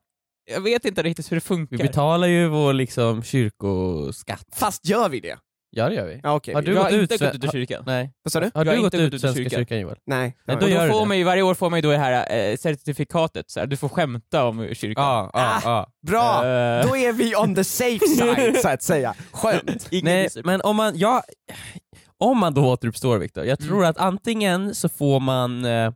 [SPEAKER 4] jag vet inte riktigt hur
[SPEAKER 2] Vi
[SPEAKER 4] det funkar.
[SPEAKER 2] betalar ju vår liksom kyrkoskatt.
[SPEAKER 3] Fast gör vi det?
[SPEAKER 2] Ja det gör vi.
[SPEAKER 3] Ja, okej.
[SPEAKER 2] Har
[SPEAKER 3] vi-
[SPEAKER 2] du
[SPEAKER 4] jag
[SPEAKER 2] gått
[SPEAKER 4] har inte
[SPEAKER 2] ut-
[SPEAKER 4] gått ut ur kyrkan.
[SPEAKER 2] Nej.
[SPEAKER 3] Vad sa du?
[SPEAKER 2] Har
[SPEAKER 4] Jag har
[SPEAKER 2] du gått
[SPEAKER 4] inte
[SPEAKER 2] ut
[SPEAKER 4] gått
[SPEAKER 2] ur
[SPEAKER 4] ut ur
[SPEAKER 2] Svenska
[SPEAKER 4] kyrkan.
[SPEAKER 2] kyrkan Joel?
[SPEAKER 3] Nej.
[SPEAKER 2] Men
[SPEAKER 3] Ja,
[SPEAKER 2] då
[SPEAKER 4] Och
[SPEAKER 2] gör
[SPEAKER 4] då
[SPEAKER 2] du
[SPEAKER 4] får
[SPEAKER 2] det.
[SPEAKER 4] man ju, varje år får man ju då det här eh, certifikatet, så här, du får skämta om kyrkan.
[SPEAKER 2] Ja, ja, ja. Ah.
[SPEAKER 3] Bra,
[SPEAKER 4] Eh.
[SPEAKER 3] då är vi on the safe side så att säga. Skönt.
[SPEAKER 4] Ingen
[SPEAKER 2] Nej,
[SPEAKER 4] disciplin.
[SPEAKER 2] men om man, ja, om man då återuppstår Viktor,
[SPEAKER 4] Mm.
[SPEAKER 2] jag tror att antingen så får man eh,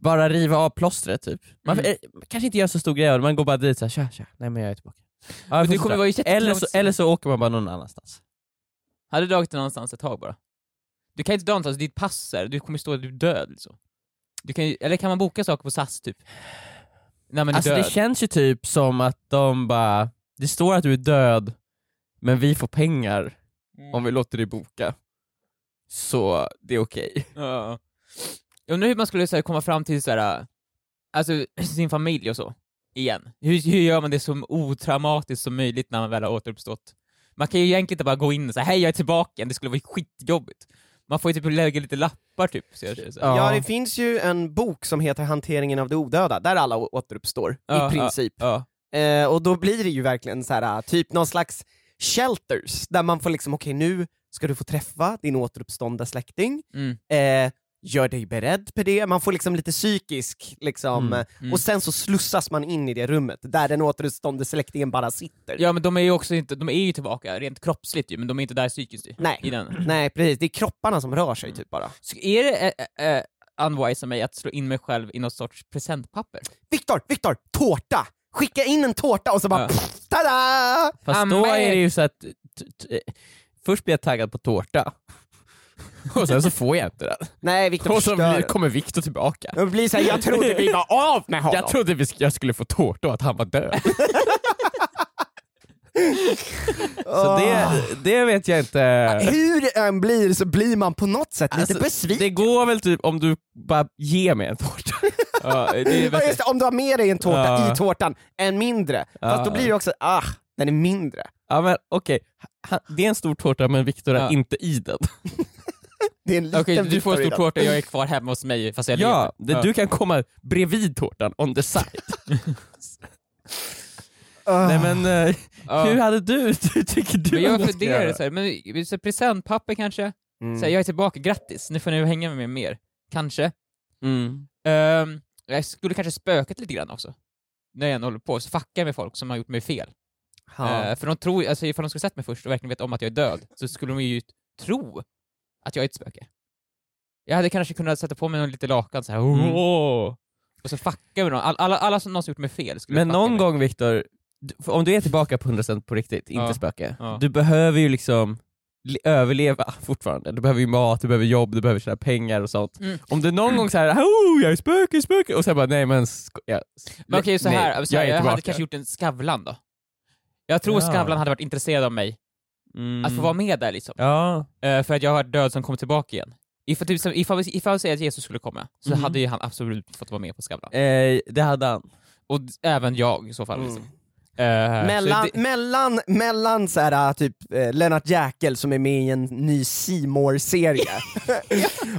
[SPEAKER 2] bara riva av plåstret typ. Man
[SPEAKER 4] Mm.
[SPEAKER 2] eh, kanske inte gör så stor grej av det, man går bara dit såhär tja tja, nej men jag är tillbaka. Ja, jag
[SPEAKER 4] Men det
[SPEAKER 2] får
[SPEAKER 4] Alltså, kommer
[SPEAKER 2] sitta.
[SPEAKER 4] vara
[SPEAKER 2] eller,
[SPEAKER 4] jättelångt
[SPEAKER 2] så, eller så åker man bara någon annanstans.
[SPEAKER 4] Hade du dragit det någonstans ett tag bara? Du kan inte dra någonstans, ditt pass är, du kommer stå att du är död liksom. Du kan, ju- eller kan man boka saker på SAS typ? När man är
[SPEAKER 2] alltså
[SPEAKER 4] död.
[SPEAKER 2] det känns ju typ som att de bara, det står att du är död, men vi får pengar om vi låter dig boka. Så det är okej.
[SPEAKER 4] Ja. Jag undrar hur man skulle så här, komma fram till så här, äh, alltså sin familj och så, igen. Hur, hur gör man det så otraumatiskt som möjligt när man väl har återuppstått? Man kan ju egentligen inte bara gå in och säga hej jag är tillbaka igen, det skulle vara skitjobbigt. Man får ju typ lägga lite lappar typ. Så jag, så här.
[SPEAKER 3] Ja, det finns ju en bok som heter Hanteringen av det odöda, där alla å- återuppstår,
[SPEAKER 4] Ja,
[SPEAKER 3] i princip.
[SPEAKER 4] ja.
[SPEAKER 3] Eh, och då blir det ju verkligen så här, äh, typ någon slags shelters där man får liksom, okej nu ska du få träffa din återuppståndna släkting,
[SPEAKER 4] Mm.
[SPEAKER 3] eh, gör dig beredd på det, man får liksom lite psykisk liksom,
[SPEAKER 2] Mm,
[SPEAKER 3] eh, och sen så slussas man in i det rummet där den återuppståndne släktingen bara
[SPEAKER 2] typ.
[SPEAKER 3] sitter.
[SPEAKER 4] Ja men de är ju också inte, de är ju tillbaka rent kroppsligt ju, men de är inte där psykiskt ju.
[SPEAKER 3] Nej.
[SPEAKER 4] I den.
[SPEAKER 3] Nej precis, det är kropparna som rör sig typ bara.
[SPEAKER 4] Så är det eh, eh, unwise av mig att slå in mig själv i något sorts presentpapper?
[SPEAKER 3] Viktor, Viktor, tårta! Skicka in en tårta och så bara
[SPEAKER 4] Ja.
[SPEAKER 3] pff, tada!
[SPEAKER 2] Fast då
[SPEAKER 4] Amen.
[SPEAKER 2] är det ju så att t- t- eh, först blir jag taggad på tårta och sen så får jag inte den.
[SPEAKER 3] Nej Viktor
[SPEAKER 2] Och så blir-
[SPEAKER 3] förstör.
[SPEAKER 2] kommer Viktor tillbaka.
[SPEAKER 3] Det blir såhär, jag trodde vi var av med honom.
[SPEAKER 2] Jag trodde vi sk- jag skulle få tårta och att han var död. så det, det vet jag inte.
[SPEAKER 3] Hur det än blir så blir man på något sätt
[SPEAKER 2] Alltså,
[SPEAKER 3] lite besviken.
[SPEAKER 2] Det går väl typ om du bara ger mig en tårta. ja, det är
[SPEAKER 3] Ja, just
[SPEAKER 2] bättre.
[SPEAKER 3] det, om du har med dig en tårta
[SPEAKER 2] Ja.
[SPEAKER 3] i tårtan, en mindre. Fast då
[SPEAKER 2] Ja.
[SPEAKER 3] blir det också, ah, den är mindre.
[SPEAKER 2] ja, men, okej. Han- Det är en stor tårta men Viktor är
[SPEAKER 4] Ja.
[SPEAKER 2] inte i den.
[SPEAKER 3] Det är en liten
[SPEAKER 4] Okej, du får en
[SPEAKER 3] Victor i
[SPEAKER 4] stor
[SPEAKER 3] den.
[SPEAKER 4] tårta, jag är kvar hemma hos mig fast jag
[SPEAKER 2] Ja,
[SPEAKER 4] lever.
[SPEAKER 2] det, du kan komma bredvid tårtan on the side.
[SPEAKER 3] Ah.
[SPEAKER 2] Nej men eh,
[SPEAKER 4] Ja.
[SPEAKER 2] hur hade du, du tycker du
[SPEAKER 4] Men jag
[SPEAKER 2] att ska
[SPEAKER 4] funderar
[SPEAKER 2] göra?
[SPEAKER 4] så här, men så här, presentpapper kanske?
[SPEAKER 3] Mm.
[SPEAKER 4] Så här, jag är tillbaka, grattis, nu får ni hänga med mig mer. Kanske.
[SPEAKER 2] Mm.
[SPEAKER 4] Ehm, jag skulle kanske spökat lite grann också. När jag än håller på, så fuckar jag med folk som har gjort mig fel.
[SPEAKER 3] Ja.
[SPEAKER 4] Eh, för de tror, alltså ifall de skulle sett mig först och verkligen vet om att jag är död, så skulle de ju tro att jag är ett spöke. Jag hade kanske kunnat sätta på mig någon lite lakan så här.
[SPEAKER 2] Mm.
[SPEAKER 4] "Åh!" och så fucka med någon. All, alla, alla som någonsin gjort mig fel skulle
[SPEAKER 2] Men
[SPEAKER 4] fucka
[SPEAKER 2] någon
[SPEAKER 4] mig.
[SPEAKER 2] gång Viktor, du- för om du är tillbaka på 100% på riktigt, inte
[SPEAKER 4] Ja.
[SPEAKER 2] spöke,
[SPEAKER 4] Ja.
[SPEAKER 2] du behöver ju liksom le- överleva fortfarande. Du behöver ju mat, du behöver jobb, du behöver tjäna pengar och sånt.
[SPEAKER 4] Mm.
[SPEAKER 2] Om du någon gång såhär oh, jag är spöke, spöke” och sen bara “nej men sko- jag,
[SPEAKER 4] Men okej, så
[SPEAKER 2] nej,
[SPEAKER 4] här, så här,
[SPEAKER 2] är
[SPEAKER 4] jag, hade
[SPEAKER 2] tillbaka.
[SPEAKER 4] kanske gjort en Skavlan då. Jag tror
[SPEAKER 2] Ja.
[SPEAKER 4] Skavlan hade varit intresserad av mig,
[SPEAKER 2] Mm.
[SPEAKER 4] att få vara med där liksom.
[SPEAKER 2] Ja,
[SPEAKER 4] Eh, för att jag har varit död som kom tillbaka igen. Ifall, typ, som- ifall, vi- ifall vi säger att Jesus skulle komma, så
[SPEAKER 2] Mhm.
[SPEAKER 4] hade ju han absolut fått vara med på Skavlan.
[SPEAKER 2] eh, det hade han.
[SPEAKER 4] Och d- även jag i så fall.
[SPEAKER 3] Mm.
[SPEAKER 4] Liksom. Eh, så
[SPEAKER 3] Mellan,
[SPEAKER 4] det,
[SPEAKER 3] mellan, mellan så här, typ eh, Lennart Jäkel som är med i en ny More serie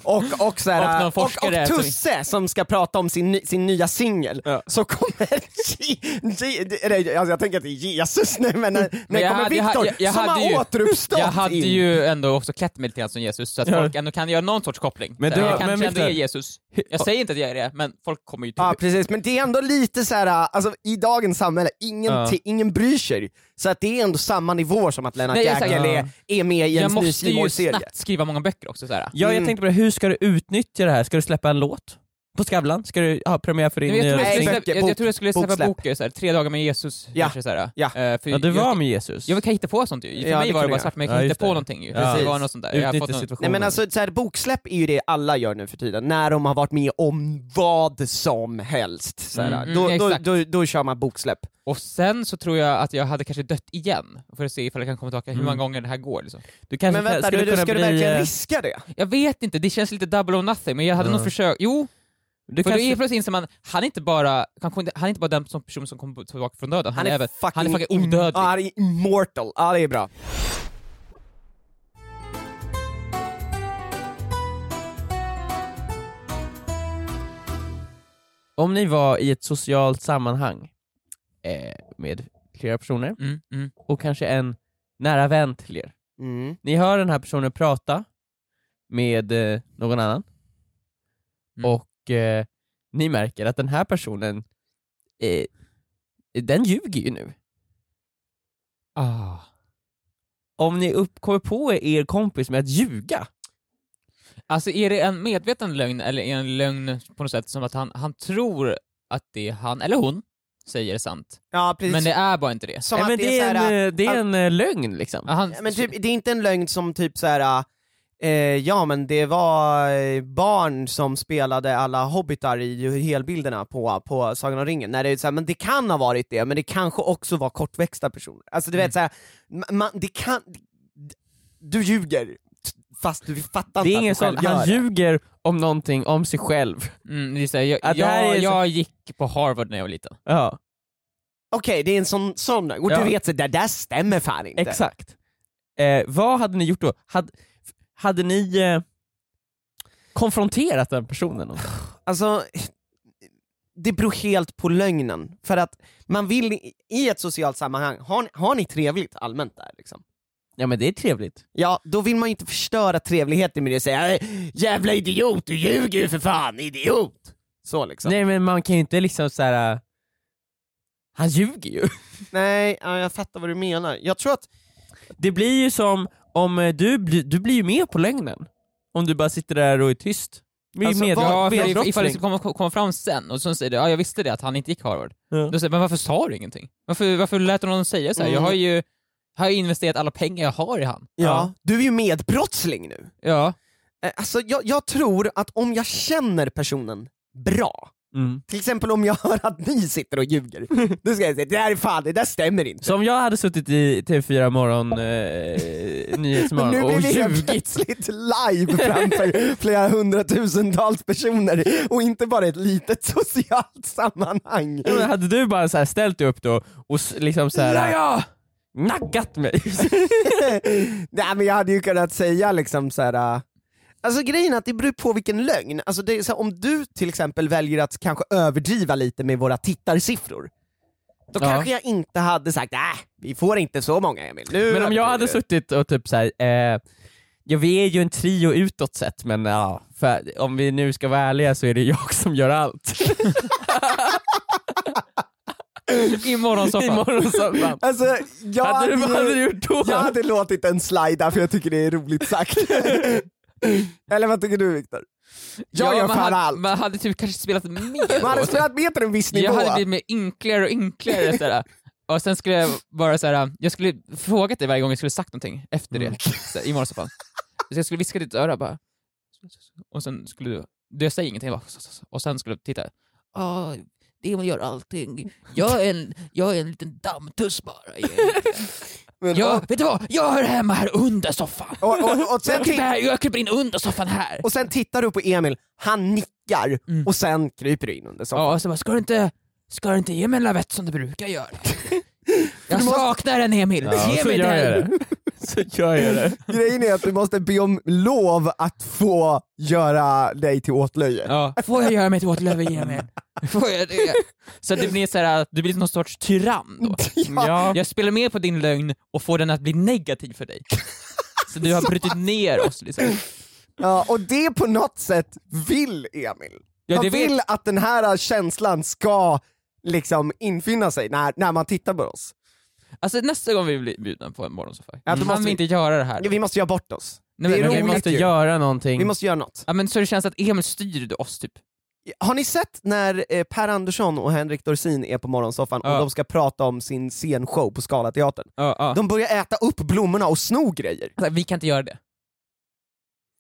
[SPEAKER 3] och, och, så
[SPEAKER 4] Och
[SPEAKER 3] här, äh,
[SPEAKER 4] någon
[SPEAKER 3] och, och,
[SPEAKER 4] forskare som-
[SPEAKER 3] Tusse som ska prata om sin, ny- sin nya singel,
[SPEAKER 2] Ja.
[SPEAKER 3] så kommer Je, Je, det- eller, alltså jag tänker att det är Jesus nu men när, när
[SPEAKER 4] jag
[SPEAKER 3] kommer
[SPEAKER 4] hade- jag-
[SPEAKER 3] Viktor
[SPEAKER 4] jag- jag
[SPEAKER 3] som
[SPEAKER 4] hade
[SPEAKER 3] har
[SPEAKER 4] ju-
[SPEAKER 3] återuppstått
[SPEAKER 4] jag hade
[SPEAKER 3] in.
[SPEAKER 4] ju ändå också klätt mig lite grann som Jesus, så att
[SPEAKER 2] Ja.
[SPEAKER 4] folk ändå kan göra någon sorts koppling.
[SPEAKER 2] Men
[SPEAKER 4] Men
[SPEAKER 2] du-
[SPEAKER 4] jag kanske
[SPEAKER 2] men
[SPEAKER 4] ändå
[SPEAKER 2] Viktor-
[SPEAKER 4] är Jesus. Jag säger inte att jag är det, men folk kommer ju typ- tro
[SPEAKER 3] Ja
[SPEAKER 4] det.
[SPEAKER 3] precis, men det är ändå lite så här, alltså i dagens samhälle, ingen,
[SPEAKER 2] Ja.
[SPEAKER 3] ti- ingen bryr sig. Så att det är ändå samma nivå som att Lennart
[SPEAKER 4] Nej, exakt.
[SPEAKER 3] Jäkel är, är med i en
[SPEAKER 4] Jag
[SPEAKER 3] ny
[SPEAKER 4] måste ju
[SPEAKER 3] Simor-serie.
[SPEAKER 4] snabbt skriva många böcker också. Så här.
[SPEAKER 2] Ja, jag
[SPEAKER 3] Mm.
[SPEAKER 2] tänkte på det, hur ska du utnyttja det här? Ska du släppa en låt? På Skavlan? Ska du ha premiär för din
[SPEAKER 4] Nej, men jag, tror
[SPEAKER 2] nya
[SPEAKER 3] Nej,
[SPEAKER 4] jag, skulle
[SPEAKER 2] singel?
[SPEAKER 4] släppa,
[SPEAKER 3] böcker,
[SPEAKER 4] jag,
[SPEAKER 3] bok-
[SPEAKER 4] jag tror jag skulle släppa
[SPEAKER 3] boksläpp.
[SPEAKER 4] boker, så här, tre dagar med Jesus.
[SPEAKER 3] Ja.
[SPEAKER 4] Kanske, så här.
[SPEAKER 3] Ja.
[SPEAKER 4] Eh, för
[SPEAKER 2] Ja, du
[SPEAKER 4] jag-
[SPEAKER 2] var med Jesus.
[SPEAKER 4] Jag vill hitta på sånt ju. För
[SPEAKER 3] Ja, det
[SPEAKER 4] mig var
[SPEAKER 3] kan
[SPEAKER 4] det
[SPEAKER 3] du
[SPEAKER 4] bara
[SPEAKER 3] göra.
[SPEAKER 4] svart, men jag
[SPEAKER 2] Ja,
[SPEAKER 4] kan
[SPEAKER 2] just
[SPEAKER 4] hitta
[SPEAKER 2] det.
[SPEAKER 4] på någonting ju.
[SPEAKER 2] Ja.
[SPEAKER 4] Det var något sånt där. Jag har fått
[SPEAKER 2] Utnyttja
[SPEAKER 4] någon...
[SPEAKER 2] situationen.
[SPEAKER 3] Nej men alltså så här, boksläpp är ju det alla gör nu för tiden, när de har varit med om vad som helst. Så här,
[SPEAKER 4] Mm,
[SPEAKER 3] då,
[SPEAKER 4] mm,
[SPEAKER 3] då,
[SPEAKER 4] exakt. Alltså,
[SPEAKER 3] då, då, kör man boksläpp.
[SPEAKER 4] Och sen så tror jag att jag hade kanske dött igen, för att se ifall jag kan komma tillbaka hur
[SPEAKER 3] Mm.
[SPEAKER 4] många gånger det här går. Liksom.
[SPEAKER 2] du kanske
[SPEAKER 3] Men
[SPEAKER 2] kan-
[SPEAKER 3] vänta, du, du,
[SPEAKER 2] kunna
[SPEAKER 3] ska du
[SPEAKER 2] bli,
[SPEAKER 3] verkligen
[SPEAKER 2] eh,
[SPEAKER 3] riska det?
[SPEAKER 4] Jag vet inte, det känns lite double or nothing, men jag hade
[SPEAKER 2] Ja.
[SPEAKER 4] nog försökt. Jo,
[SPEAKER 2] du
[SPEAKER 4] för då
[SPEAKER 2] kanske-
[SPEAKER 4] är plötsligt inser man, han är inte bara, kanske inte, han är inte bara den som person som kommer tillbaka från döden, han, är, även, han är fucking
[SPEAKER 3] im-
[SPEAKER 4] odödlig.
[SPEAKER 3] Ja, han är immortal. Ja, det är bra.
[SPEAKER 2] Om ni var i ett socialt sammanhang eh, med flera personer
[SPEAKER 4] Mm, mm.
[SPEAKER 2] och kanske en nära vän till er.
[SPEAKER 3] Mm.
[SPEAKER 2] Ni hör den här personen prata med eh, någon annan
[SPEAKER 4] Mm.
[SPEAKER 2] och eh, ni märker att den här personen, eh, den ljuger ju nu.
[SPEAKER 4] Ah.
[SPEAKER 2] Om ni upp, kommer på er kompis med att ljuga,
[SPEAKER 4] Alltså är det en medveten lögn, eller är det en lögn på något sätt som att han, han tror att det han, eller hon, säger är sant,
[SPEAKER 3] Ja, precis.
[SPEAKER 4] men det är bara inte det.
[SPEAKER 3] Som
[SPEAKER 2] Nej,
[SPEAKER 3] att
[SPEAKER 2] men det är
[SPEAKER 3] så här,
[SPEAKER 2] en, eh, det är
[SPEAKER 3] att-
[SPEAKER 2] en eh, lögn liksom.
[SPEAKER 4] Ja, Han,
[SPEAKER 3] Ja, men typ, det är inte en lögn som typ så här. Eh, ja men det var eh, barn som spelade alla hobbitar i helbilderna på, på Sagan om ringen. När det, är så här, men det kan ha varit det, men det kanske också var kortväxta personer. Alltså
[SPEAKER 2] Mm.
[SPEAKER 3] du vet så här, ma- man, det kan... Du ljuger, fast du fattar
[SPEAKER 2] Det är
[SPEAKER 3] inte att
[SPEAKER 2] ingen
[SPEAKER 3] du själv
[SPEAKER 2] sån, han
[SPEAKER 3] gör det.
[SPEAKER 2] ljuger om någonting, om sig själv.
[SPEAKER 4] Mm, det är så här, jag,
[SPEAKER 2] Ja, det här
[SPEAKER 4] jag,
[SPEAKER 2] är så-
[SPEAKER 4] jag gick på Harvard när jag var liten.
[SPEAKER 2] Ja,
[SPEAKER 3] Okej, det är en sån, sån och
[SPEAKER 2] Ja.
[SPEAKER 3] du vet så det där stämmer fan inte.
[SPEAKER 2] exakt. Eh, vad hade ni gjort då? Had, f- hade ni eh, konfronterat den personen?
[SPEAKER 3] Alltså, det beror helt på lögnen. För att man vill i- i ett socialt sammanhang, har ni, har ni trevligt allmänt där liksom?
[SPEAKER 2] Ja men det är trevligt.
[SPEAKER 3] Ja, då vill man ju inte förstöra trevligheten med det och säga "Äh, “jävla idiot, du ljuger ju för fan, idiot”. Så liksom.
[SPEAKER 2] Nej men man kan ju inte liksom så här. äh, Han ljuger ju.
[SPEAKER 3] Nej, ja, jag fattar vad du menar. Jag tror att,
[SPEAKER 2] Det blir ju som om eh, du, bli- du blir ju med på lögnen. Om du bara sitter där och är tyst. Du är ju
[SPEAKER 3] Alltså,
[SPEAKER 2] med-
[SPEAKER 3] vad-
[SPEAKER 4] Ja,
[SPEAKER 2] ja,
[SPEAKER 4] för
[SPEAKER 3] vad-
[SPEAKER 4] if- ifall det
[SPEAKER 2] medbrottsling.
[SPEAKER 4] skulle komma, komma fram sen och så säger du ja jag visste det att han inte gick Harvard.
[SPEAKER 2] Ja.
[SPEAKER 4] Då säger jag, men varför sa du ingenting? Varför, varför lät du någon säga så här?
[SPEAKER 3] Mm.
[SPEAKER 4] Jag har ju har ju investerat alla pengar jag har i han.
[SPEAKER 3] ja. du är ju medbrottsling nu.
[SPEAKER 4] Ja.
[SPEAKER 3] Eh, Alltså, jag, jag tror att om jag känner personen bra,
[SPEAKER 2] Mm.
[SPEAKER 3] till exempel om jag hör att ni sitter och ljuger, då ska jag säga det där är fan, det där stämmer inte.
[SPEAKER 2] Så om jag hade suttit i TV4 morgon, eh,
[SPEAKER 3] Men nu
[SPEAKER 2] Nyhetsmorgon och
[SPEAKER 3] blir vi helt
[SPEAKER 2] ljugit
[SPEAKER 3] plötsligt live framför flera hundratusentals personer och inte bara ett litet socialt sammanhang.
[SPEAKER 2] Ja, men Hade du bara så här ställt dig upp då och s- liksom så här,
[SPEAKER 4] ja!
[SPEAKER 2] naggat mig?
[SPEAKER 3] Nej men jag hade ju kunnat säga liksom så här. äh, Alltså grejen är att det beror på vilken lögn. Alltså det är så här, om du till exempel väljer att kanske överdriva lite med våra tittarsiffror, då
[SPEAKER 2] Ja.
[SPEAKER 3] kanske jag inte hade sagt äh, vi får inte så många Emil. Nu
[SPEAKER 2] Men om jag hade
[SPEAKER 3] överdriver du."
[SPEAKER 2] suttit och typ så här, eh, ja vi är ju en trio utåt sett men ja, för om vi nu ska vara ärliga så är det jag som gör allt.
[SPEAKER 4] Typ I morgonsoffan.
[SPEAKER 2] Imorgon så
[SPEAKER 3] Alltså, jag
[SPEAKER 2] hade du,
[SPEAKER 3] ju-
[SPEAKER 2] vad hade du gjort då?
[SPEAKER 3] Jag hade låtit den slida för jag tycker det är roligt sagt. Eller vad tycker du Viktor? Jag gör
[SPEAKER 4] man
[SPEAKER 3] fan
[SPEAKER 4] hade,
[SPEAKER 3] allt.
[SPEAKER 4] Man hade typ kanske spelat mer
[SPEAKER 3] Man hade
[SPEAKER 4] låt.
[SPEAKER 3] spelat med till en viss nivå.
[SPEAKER 4] Jag hade blivit mer ynkligare och ynkligare såhär. Och sen skulle jag bara såhär, jag skulle frågat dig varje gång jag skulle sagt någonting efter
[SPEAKER 3] Mm.
[SPEAKER 4] det, så här, i morgonsoffan. Så jag skulle viska i ditt öra bara, och sen skulle du, du jag säger ingenting, jag bara, och sen skulle du titta. Ja, det man gör allting. Jag är en, jag är en liten dammtuss bara.
[SPEAKER 3] Men-
[SPEAKER 4] Jag, vet du vad? Jag hör hemma här under soffan.
[SPEAKER 3] och, och, och, sen
[SPEAKER 4] Jag kryper,
[SPEAKER 3] ti-
[SPEAKER 4] här, jag kryper in under soffan här.
[SPEAKER 3] och sen tittar du på Emil, han nickar
[SPEAKER 4] Mm.
[SPEAKER 3] och sen kryper du in under soffan.
[SPEAKER 4] Ja, och så bara, ska du inte, ska du inte ge mig en lavett som du brukar göra? Jag
[SPEAKER 3] måste-
[SPEAKER 4] saknar den Emil,
[SPEAKER 2] Ja,
[SPEAKER 4] ge
[SPEAKER 2] så
[SPEAKER 4] mig
[SPEAKER 2] gör jag
[SPEAKER 4] den!
[SPEAKER 2] det. Så gör jag det.
[SPEAKER 3] Grejen är att du måste be om lov att få göra dig till åtlöje.
[SPEAKER 4] Ja. Får jag göra mig till åtlöve, ge mig den. Får jag det? Så att det blir så här, du blir någon sorts tyrann då. Mm.
[SPEAKER 2] Ja.
[SPEAKER 4] Jag spelar med på din lögn och får den att bli negativ för dig. Så du har brutit ner oss. Liksom.
[SPEAKER 3] Ja, och det på något sätt vill Emil.
[SPEAKER 4] Ja,
[SPEAKER 3] Han
[SPEAKER 4] det vet-
[SPEAKER 3] vill att den här känslan ska liksom infinna sig när, när man tittar på oss.
[SPEAKER 4] Alltså nästa gång vi blir bjudna på en morgonsoffa,
[SPEAKER 3] Ja, då
[SPEAKER 4] kan
[SPEAKER 3] måste
[SPEAKER 4] vi
[SPEAKER 3] vi-
[SPEAKER 4] inte göra det här?
[SPEAKER 3] Vi måste göra bort oss.
[SPEAKER 4] Nej,
[SPEAKER 3] det är
[SPEAKER 4] men-
[SPEAKER 2] Vi
[SPEAKER 3] roligt
[SPEAKER 2] måste
[SPEAKER 3] ju.
[SPEAKER 2] göra någonting.
[SPEAKER 3] Vi måste göra något.
[SPEAKER 4] Ja, men så det känns att Emil styr oss typ.
[SPEAKER 3] Har ni sett när eh, Per Andersson och Henrik Dorsin är på morgonsoffan
[SPEAKER 4] Ja.
[SPEAKER 3] och de ska prata om sin scenshow på Scalateatern?
[SPEAKER 4] Ja, ja.
[SPEAKER 3] De börjar äta upp blommorna och sno grejer.
[SPEAKER 4] Så här, Vi kan inte göra det.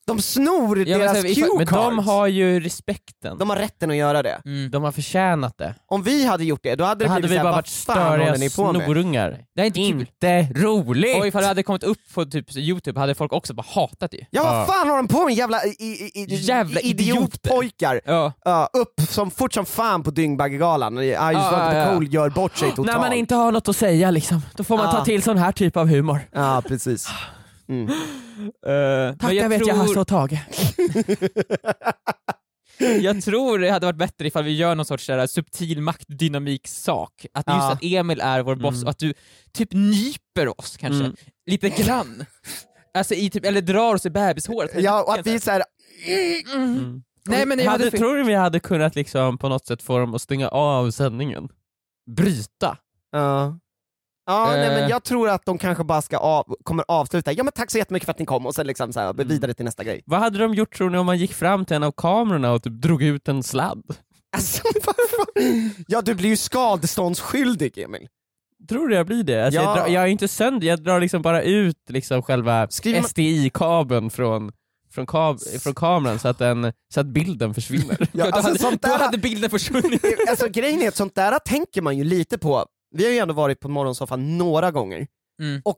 [SPEAKER 3] De snor
[SPEAKER 4] Ja, men så
[SPEAKER 3] deras
[SPEAKER 4] här, vi-
[SPEAKER 3] cue
[SPEAKER 2] Men
[SPEAKER 3] cards.
[SPEAKER 2] de har ju respekten.
[SPEAKER 3] de har rätten att göra det.
[SPEAKER 4] Mm.
[SPEAKER 2] De har förtjänat det.
[SPEAKER 3] Om vi hade gjort det, då hade
[SPEAKER 2] Då
[SPEAKER 3] det
[SPEAKER 2] hade
[SPEAKER 3] blivit
[SPEAKER 2] vi
[SPEAKER 3] såhär,
[SPEAKER 2] bara
[SPEAKER 3] "Vad
[SPEAKER 2] varit
[SPEAKER 3] fan håller
[SPEAKER 2] störiga
[SPEAKER 3] ni på med?
[SPEAKER 2] snorungar.
[SPEAKER 4] Det här är inte kul.
[SPEAKER 2] Inte roligt!
[SPEAKER 4] Och ifall det hade kommit upp på typ Youtube hade folk också bara hatat det.
[SPEAKER 3] Ja,
[SPEAKER 2] Ja.
[SPEAKER 3] vad fan håller de på med? Jävla, i, i, i,
[SPEAKER 4] Jävla
[SPEAKER 3] idiotpojkar!
[SPEAKER 4] Ja.
[SPEAKER 3] Ja, upp som, fort som fan på Dyngbaggegalan, I just
[SPEAKER 4] Ja,
[SPEAKER 3] ja,
[SPEAKER 4] ja, ja.
[SPEAKER 3] Cool gör bort sig totalt.
[SPEAKER 2] När man inte har något att säga liksom, då får man
[SPEAKER 3] Ja.
[SPEAKER 2] ta till sån här typ av humor.
[SPEAKER 3] Ja, precis. Mm.
[SPEAKER 2] Tack, jag, vet jag Hasse och Tage.
[SPEAKER 4] Jag tror det hade varit bättre ifall vi gör någon sorts där subtil maktdynamik-sak. Att just
[SPEAKER 3] Ja. Mm.
[SPEAKER 4] att Emil är vår boss och att du typ nyper oss kanske,
[SPEAKER 2] Mm.
[SPEAKER 4] lite grann. Alltså i typ, eller drar oss i bebishåret. Mm.
[SPEAKER 3] Ja, och att vi såhär,
[SPEAKER 2] Mm.
[SPEAKER 4] Nej men jag
[SPEAKER 2] hade,
[SPEAKER 4] hade...
[SPEAKER 2] Tror du vi hade kunnat liksom på något sätt få dem att stänga av sändningen? Bryta?
[SPEAKER 3] Ja. Ja, nej,
[SPEAKER 4] Eh.
[SPEAKER 3] men jag tror att de kanske bara ska av, kommer avsluta, ja men tack så jättemycket för att ni kom, och sen liksom så här,
[SPEAKER 4] Mm.
[SPEAKER 3] vidare till nästa grej.
[SPEAKER 2] Vad hade de gjort tror ni om man gick fram till en av kamerorna och typ drog ut en sladd?
[SPEAKER 3] Alltså, vad fan? ja du blir ju skadeståndsskyldig Emil.
[SPEAKER 2] Tror du jag blir det? Alltså,
[SPEAKER 3] Ja.
[SPEAKER 2] jag, drar, jag är inte sönder, jag drar liksom bara ut liksom själva
[SPEAKER 3] Skriver man-
[SPEAKER 2] SDI-kabeln från, från, kab, från kameran så att, den, så att bilden försvinner.
[SPEAKER 3] Ja,
[SPEAKER 4] då,
[SPEAKER 3] alltså,
[SPEAKER 4] hade,
[SPEAKER 3] sånt
[SPEAKER 4] då
[SPEAKER 3] där-
[SPEAKER 4] hade bilden försvunnit.
[SPEAKER 3] Alltså grejen är att sånt där tänker man ju lite på, vi har ju ändå varit på morgonsoffan några gånger,
[SPEAKER 4] Mm.
[SPEAKER 3] och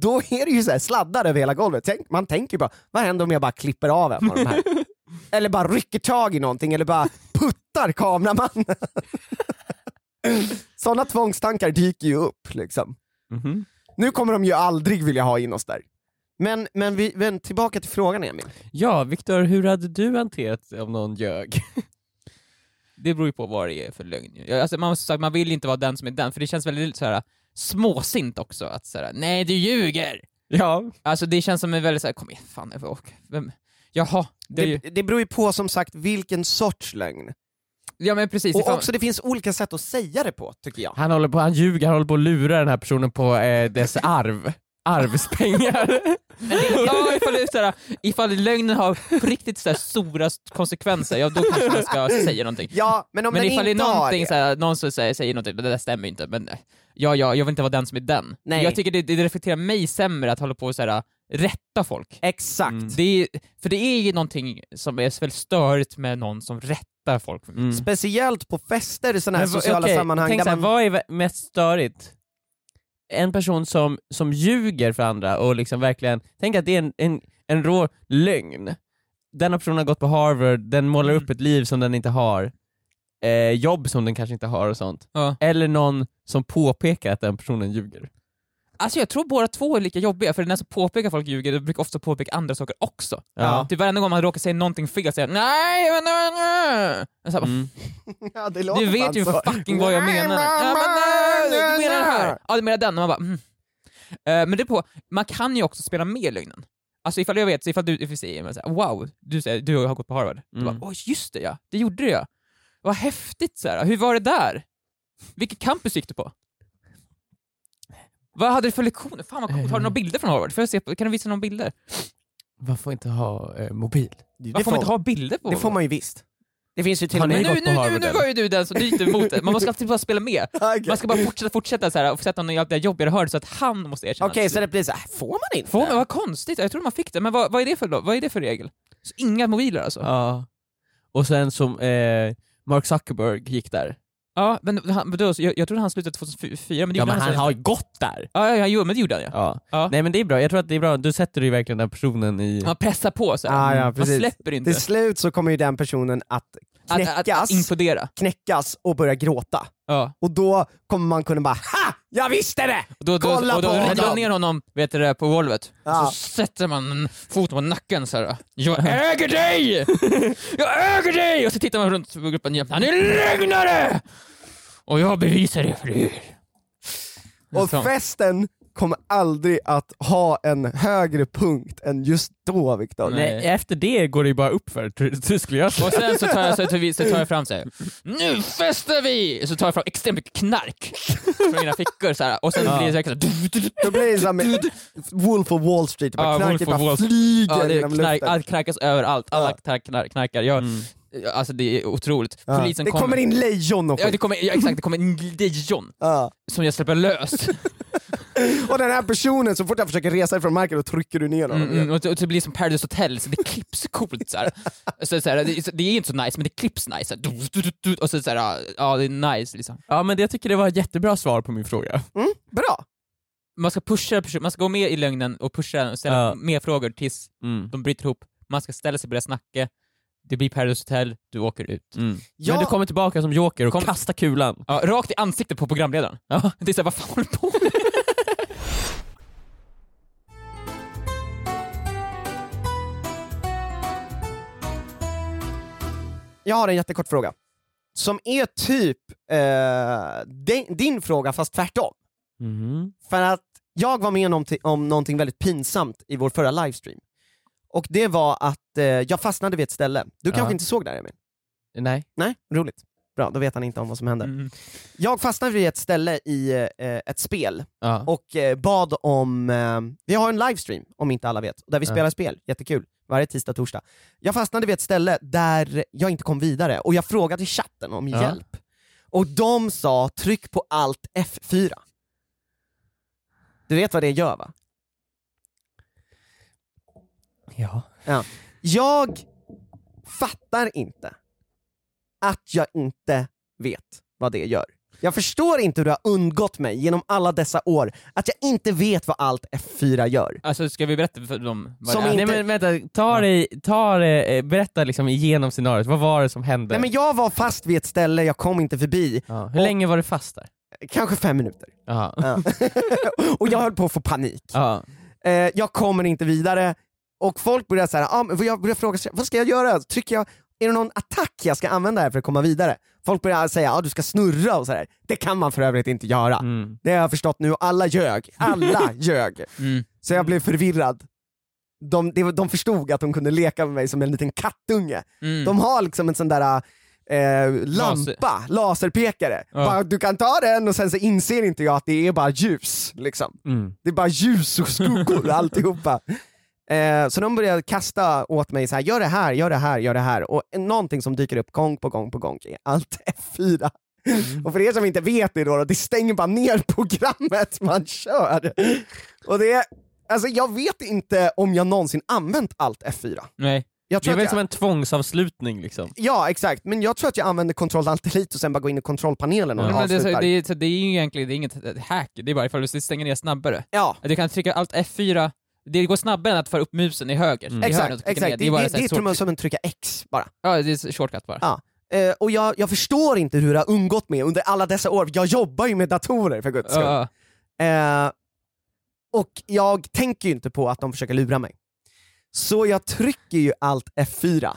[SPEAKER 3] då är det ju så här sladdar över hela golvet, Tänk, man tänker ju bara, vad händer om jag bara klipper av en av de här? eller bara rycker tag i någonting, eller bara puttar kameramannen. Sådana tvångstankar dyker ju upp liksom.
[SPEAKER 2] Mhm.
[SPEAKER 3] Nu kommer de ju aldrig vilja ha in oss där. Men, men, vi, men tillbaka till frågan Emil.
[SPEAKER 2] Ja, Viktor, hur hade du hanterat det om någon ljög?
[SPEAKER 4] Det beror ju på vad det är för lögn. Ja, Alltså, man, måste sagt, man vill inte vara den som är den, för det känns väldigt så här, äh, småsint också att så här, nej du ljuger!
[SPEAKER 2] Ja.
[SPEAKER 4] Alltså det känns som en väldigt så här, kom igen, fan, jag får åka. Vem? Jaha, det är
[SPEAKER 3] Det,
[SPEAKER 4] ju...
[SPEAKER 3] det beror ju på som sagt vilken sorts lögn.
[SPEAKER 4] Ja men precis.
[SPEAKER 3] Och
[SPEAKER 4] ifall-
[SPEAKER 3] också det finns olika sätt att säga det på, tycker jag.
[SPEAKER 2] Han håller på, han ljuger, han håller på att lura den här personen på eh, dess arv. Arvspengar.
[SPEAKER 4] Ja, ifall, det är så här, ifall lögnen har på riktigt så här stora konsekvenser, ja då kanske man ska säga någonting.
[SPEAKER 3] Ja, men om
[SPEAKER 4] men
[SPEAKER 3] den
[SPEAKER 4] ifall det är
[SPEAKER 3] inte har
[SPEAKER 4] någonting,
[SPEAKER 3] det.
[SPEAKER 4] så här, någon som säger, säger någonting, men det där stämmer ju inte, men eh, ja, ja, jag vill inte vara den som är den.
[SPEAKER 3] Nej.
[SPEAKER 4] Jag tycker det, det reflekterar mig sämre att hålla på och så här, äh, rätta folk.
[SPEAKER 3] Exakt.
[SPEAKER 4] Det är, för det är ju någonting som är väldigt störigt med någon som rättar folk.
[SPEAKER 3] Speciellt på fester i sådana här
[SPEAKER 2] Men v-
[SPEAKER 3] sociala
[SPEAKER 2] okej,
[SPEAKER 3] sammanhang.
[SPEAKER 2] Tänk
[SPEAKER 3] Där
[SPEAKER 2] såhär,
[SPEAKER 3] man...
[SPEAKER 2] vad är vä- mest störigt? En person som, som ljuger för andra och liksom verkligen, tänk att det är en, en, en rå lögn. Denna personen har gått på Harvard, den målar upp ett liv som den inte har, eh, jobb som den kanske inte har och sånt.
[SPEAKER 4] Ja.
[SPEAKER 2] Eller någon som påpekar att den personen ljuger.
[SPEAKER 4] Alltså jag tror båda två är lika jobbiga, för den som påpekar folk ljuger, de brukar ofta påpeka andra saker också.
[SPEAKER 2] Ja.
[SPEAKER 4] Typ varenda gång man råkar säga någonting fel säger jag, nej, men nej, nej. Jag sa bara,
[SPEAKER 2] Mm.
[SPEAKER 3] Ja, det
[SPEAKER 4] Du
[SPEAKER 3] låter fan
[SPEAKER 4] vet ju
[SPEAKER 3] så.
[SPEAKER 4] fucking vad jag
[SPEAKER 3] alltså. Nej,
[SPEAKER 4] menar.
[SPEAKER 3] mamma,
[SPEAKER 4] Ja, men, nej, du
[SPEAKER 3] nej,
[SPEAKER 4] menar det här.
[SPEAKER 3] nej.
[SPEAKER 4] Ja, du menar den. Och man bara, mm. Eh, Men det är på, man kan ju också spela med lögnen. Alltså ifall jag vet, så ifall du ifall vi säger men så här, wow, du, säger, du har gått på Harvard. Du
[SPEAKER 2] Mm.
[SPEAKER 4] bara, åh just det ja, det gjorde jag. Vad häftigt så här. hur var det där? Vilket campus gick du på? Vad hade du för lektioner? Fan vad coolt, har du några bilder från Harvard? Får jag se på, kan du visa några bilder?
[SPEAKER 2] Man får inte ha eh, mobil.
[SPEAKER 4] Varför får man inte
[SPEAKER 3] man-
[SPEAKER 4] ha bilder på?
[SPEAKER 3] det får man ju visst. Det finns ju till
[SPEAKER 2] Har
[SPEAKER 3] och
[SPEAKER 2] ni
[SPEAKER 4] men
[SPEAKER 3] med...
[SPEAKER 4] nu,
[SPEAKER 2] gått på
[SPEAKER 4] nu, nu,
[SPEAKER 2] Harvard,
[SPEAKER 4] nu
[SPEAKER 2] eller?
[SPEAKER 4] var ju du den som dyter emot det, man måste alltid bara spela med. Man ska bara fortsätta, fortsätta så här, och sätta någon jävla jobbigare hörd så att han måste erkänna.
[SPEAKER 3] Okej, så det blir så här, får man inte?
[SPEAKER 4] Får man, vad konstigt, jag tror man fick det, men vad, vad, är, det för, lo- vad är det för regel? Så inga mobiler alltså? Ja,
[SPEAKER 2] Ja. Och sen som eh, Mark Zuckerberg gick där.
[SPEAKER 4] men han, men då, så jag, jag trodde han slutade 2004, men det
[SPEAKER 2] Ja
[SPEAKER 4] gjorde
[SPEAKER 2] men han
[SPEAKER 4] sen.
[SPEAKER 2] har ju gått där!
[SPEAKER 4] Ja, ja, ja, jo, men det gjorde han ja.
[SPEAKER 2] Ja.
[SPEAKER 4] Ja.
[SPEAKER 2] Nej men det är bra, jag tror att det är bra, du sätter ju verkligen den personen i...
[SPEAKER 4] Man pressar på så här.
[SPEAKER 3] Ja, ja,
[SPEAKER 4] man
[SPEAKER 3] precis.
[SPEAKER 4] släpper inte.
[SPEAKER 3] Till slut så kommer ju den personen att
[SPEAKER 4] Att, att, att
[SPEAKER 3] knäckas,
[SPEAKER 4] implodera.
[SPEAKER 3] knäckas och börja gråta.
[SPEAKER 4] Ja.
[SPEAKER 3] Och då kommer man kunna bara HA! Jag visste det!
[SPEAKER 4] Och då, då,
[SPEAKER 3] Kolla
[SPEAKER 4] och då,
[SPEAKER 3] på
[SPEAKER 4] då,
[SPEAKER 3] honom!
[SPEAKER 4] ner honom vet du, det, på golvet,
[SPEAKER 3] Ja.
[SPEAKER 4] så sätter man en fot på nacken så här. Jag äger dig! Jag äger dig! Och så tittar man runt på gruppen igen. Han är lögnare! Och jag bevisar det för er.
[SPEAKER 3] Och
[SPEAKER 4] Så.
[SPEAKER 3] festen kommer aldrig att ha en högre punkt än just då Viktor.
[SPEAKER 4] Nej.
[SPEAKER 2] Nej, efter det går det ju bara uppför, tr- tr- skulle jag säga.
[SPEAKER 4] Och sen så tar jag, så tar vi, så tar jag fram så här. nu festar vi! Så tar jag fram extremt mycket knark från mina fickor så här. och sen blir det säkert så här,
[SPEAKER 3] Då blir det som Wolf of Wall Street, bara
[SPEAKER 4] Ja,
[SPEAKER 3] knarket
[SPEAKER 4] Wolf of
[SPEAKER 3] bara
[SPEAKER 4] Wall-
[SPEAKER 3] flyger
[SPEAKER 4] Ja, det
[SPEAKER 3] genom
[SPEAKER 4] är knark,
[SPEAKER 3] luften.
[SPEAKER 4] allt knarkas överallt, alla
[SPEAKER 3] Ja. Mm.
[SPEAKER 4] knark, knark, knarkar. Jag, Alltså det är otroligt.
[SPEAKER 3] Ja.
[SPEAKER 4] Polisen
[SPEAKER 3] det kommer. in lejon och
[SPEAKER 4] Ja, det
[SPEAKER 3] skit.
[SPEAKER 4] kommer, ja, exakt, det kommer en lejon
[SPEAKER 3] Ja.
[SPEAKER 4] som jag släpper lös.
[SPEAKER 3] Och den här personen, så fort han försöker resa ifrån marken, då trycker du ner honom.
[SPEAKER 4] Mm, mm, och, det- och det blir som Paradise Hotel, så det klipps coolt såhär. Så, såhär det, så, det är inte så nice, men det klipps nice. Såhär, du, du, du, du, och så såhär, ja, ja det är nice liksom.
[SPEAKER 2] Ja men jag tycker det var ett jättebra svar på min fråga.
[SPEAKER 3] Bra!
[SPEAKER 4] Man ska pusha person- man ska gå med i lögnen och pusha den och ställa
[SPEAKER 2] Ja.
[SPEAKER 4] mer frågor tills de bryter ihop. Man ska ställa sig på deras nacke, det blir Paradise Hotel, du åker ut.
[SPEAKER 2] Mm. Men
[SPEAKER 3] Ja,
[SPEAKER 2] du kommer tillbaka som joker och
[SPEAKER 4] Kom-
[SPEAKER 2] kastar kulan.
[SPEAKER 4] Ja, rakt i ansiktet på programledaren.
[SPEAKER 2] Ja.
[SPEAKER 4] Det är såhär, vad fan håller du på med?
[SPEAKER 3] Jag har en jättekort fråga. Som är typ eh, din, din fråga, fast tvärtom. För att jag var med om, någonting- om någonting väldigt pinsamt i vår förra livestream. Och det var att eh, jag fastnade vid ett ställe. Du
[SPEAKER 2] Ja.
[SPEAKER 3] kanske inte såg det här Emil?
[SPEAKER 2] Nej.
[SPEAKER 3] Nej, roligt. Bra, då vet han inte om vad som hände.
[SPEAKER 4] Mm.
[SPEAKER 3] Jag fastnade vid ett ställe i eh, ett spel
[SPEAKER 2] Ja.
[SPEAKER 3] och eh, bad om, eh, vi har en livestream om inte alla vet, där vi
[SPEAKER 2] Ja.
[SPEAKER 3] spelar spel, jättekul, varje tisdag och torsdag. Jag fastnade vid ett ställe där jag inte kom vidare och jag frågade i chatten om
[SPEAKER 2] Ja.
[SPEAKER 3] hjälp. Och de sa tryck på alt F4. Du vet vad det gör va?
[SPEAKER 2] ja.
[SPEAKER 3] Jag fattar inte att jag inte vet vad det gör. Jag förstår inte hur det har undgått mig genom alla dessa år att jag inte vet vad allt F4 gör.
[SPEAKER 4] Alltså ska vi berätta för dem vad
[SPEAKER 3] Som
[SPEAKER 4] det är?
[SPEAKER 3] inte-
[SPEAKER 2] Nej men vänta, ta dig, ta dig, eh, berätta liksom igenom scenariot, vad var det som hände?
[SPEAKER 3] Nej, men jag var fast vid ett ställe, jag kom inte förbi,
[SPEAKER 2] ja. Hur
[SPEAKER 3] Och-
[SPEAKER 2] länge var du fast där?
[SPEAKER 3] kanske fem minuter.
[SPEAKER 2] Ja.
[SPEAKER 3] Ja. och jag höll på att få panik.
[SPEAKER 2] Ja.
[SPEAKER 3] Eh, jag kommer inte vidare. Och folk börjar så här, ah, men jag börjar fråga, sig, vad ska jag göra? Trycker jag Är det någon attack jag ska använda här för att komma vidare? Folk börjar säga att ah, du ska snurra och sådär. Det kan man för övrigt inte göra.
[SPEAKER 2] Mm.
[SPEAKER 3] Det har jag förstått nu, alla ljög. Alla ljög.
[SPEAKER 4] Mm.
[SPEAKER 3] Så jag blev förvirrad. De, det var- de förstod att de kunde leka med mig som en liten kattunge.
[SPEAKER 4] Mm.
[SPEAKER 3] De har liksom en sån där eh, lampa, laserpekare.
[SPEAKER 4] Ja.
[SPEAKER 3] Bara, du kan ta den och sen så inser inte jag att det är bara ljus. Liksom.
[SPEAKER 2] Mm.
[SPEAKER 3] Det är bara ljus och skuggor alltihopa. Eh, så de började kasta åt mig så här, gör det här, gör det här, gör det här. Och någonting som dyker upp gång på gång på gång är allt F4.
[SPEAKER 4] Mm.
[SPEAKER 3] Och för er som inte vet det då, det stänger bara ner programmet man kör. Och det är, alltså jag vet inte om jag någonsin använt allt F4.
[SPEAKER 4] Nej.
[SPEAKER 3] Jag
[SPEAKER 2] Det
[SPEAKER 3] tror
[SPEAKER 2] är
[SPEAKER 3] att
[SPEAKER 2] väl
[SPEAKER 3] jag...
[SPEAKER 2] som en tvångsavslutning liksom.
[SPEAKER 3] Ja, exakt. Men jag tror att jag använder kontroll alt delete och sen bara gå in i kontrollpanelen och
[SPEAKER 4] Nej, men det, är så,
[SPEAKER 3] avslutar.
[SPEAKER 4] det, är, så det är ju egentligen det är inget ett hack, det är bara ifall du stänger ner snabbare.
[SPEAKER 3] Ja,
[SPEAKER 4] Du kan trycka allt F4, det går snabbare än att föra upp musen i höger.
[SPEAKER 2] Mm.
[SPEAKER 4] I
[SPEAKER 3] exakt.
[SPEAKER 4] hörnet och
[SPEAKER 3] exakt.
[SPEAKER 4] klicka
[SPEAKER 3] Det,
[SPEAKER 4] ner.
[SPEAKER 3] det, det,
[SPEAKER 4] så här
[SPEAKER 3] är till och med som en trycka X bara.
[SPEAKER 4] Ja, det är shortcut bara.
[SPEAKER 3] Ja. Eh, och jag, jag förstår inte hur det har undgått mig under alla dessa år. Jag jobbar ju med datorer för guds skull.
[SPEAKER 4] Ja,
[SPEAKER 3] Eh, och jag tänker ju inte på att de försöker lura mig. Så jag trycker ju allt F4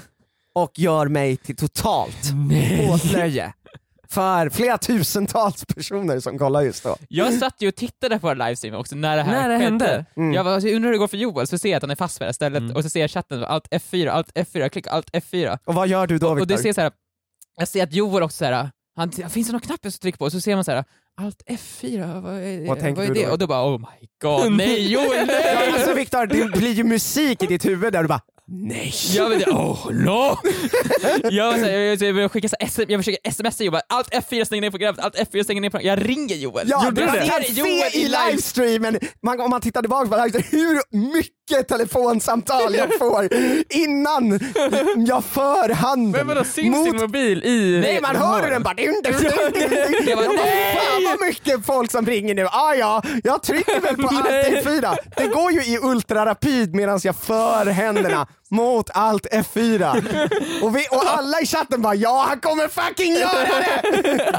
[SPEAKER 3] och gör mig till totalt åtlöje för flera tusentals personer som kollar just då.
[SPEAKER 4] Jag satt ju och tittade på livestream också när det här
[SPEAKER 2] När det
[SPEAKER 4] skedde.
[SPEAKER 2] hände?
[SPEAKER 3] Mm.
[SPEAKER 4] Jag bara, alltså, jag undrar hur det går för Joel, så ser jag att han är fast på det här stället
[SPEAKER 2] Mm.
[SPEAKER 4] och så ser jag chatten, allt F4, allt F4, klicka allt F4.
[SPEAKER 3] Och vad gör du då
[SPEAKER 4] Och
[SPEAKER 3] Viktor?
[SPEAKER 4] det ser så här, jag ser att Joel också så här, han, finns det någon knapp jag ska trycka på? Och så ser man så här, allt F4, vad är,
[SPEAKER 3] Vad tänker
[SPEAKER 4] vad är
[SPEAKER 3] du
[SPEAKER 4] det?
[SPEAKER 3] då?
[SPEAKER 4] Och då bara, oh my god, nej Joel, nej!
[SPEAKER 3] Ja, alltså Viktor, det blir ju musik i ditt huvud där du bara nej.
[SPEAKER 4] Jag vet oh no! jag, var så här, jag, jag, jag, skickar så här, SM, jag försöker smsa Joel, allt F4 stänger ner programmet, allt F4 stänger ner programmet. Jag ringer Joel!
[SPEAKER 3] Ja,
[SPEAKER 4] Gjorde
[SPEAKER 3] det
[SPEAKER 4] du
[SPEAKER 3] man
[SPEAKER 4] det?
[SPEAKER 3] kan
[SPEAKER 4] Här är
[SPEAKER 3] se i livestreamen, man, om man tittar tillbaka på livestreamen, hur mycket telefonsamtal jag får innan jag för handen.
[SPEAKER 2] Men vadå, syns
[SPEAKER 3] mot-
[SPEAKER 2] din mobil i...
[SPEAKER 3] Nej man hör hur den bara... Dun, dun, dun, dun, dun.
[SPEAKER 4] Jag
[SPEAKER 3] Jag
[SPEAKER 4] bara,
[SPEAKER 3] bara,
[SPEAKER 4] nej!
[SPEAKER 3] fan vad mycket folk som ringer nu. Ah, ja, jag trycker väl på allt F4. Det går ju i ultrarapid medan jag för händerna mot allt F4. Och, vi, och alla i chatten bara ja han kommer fucking göra det!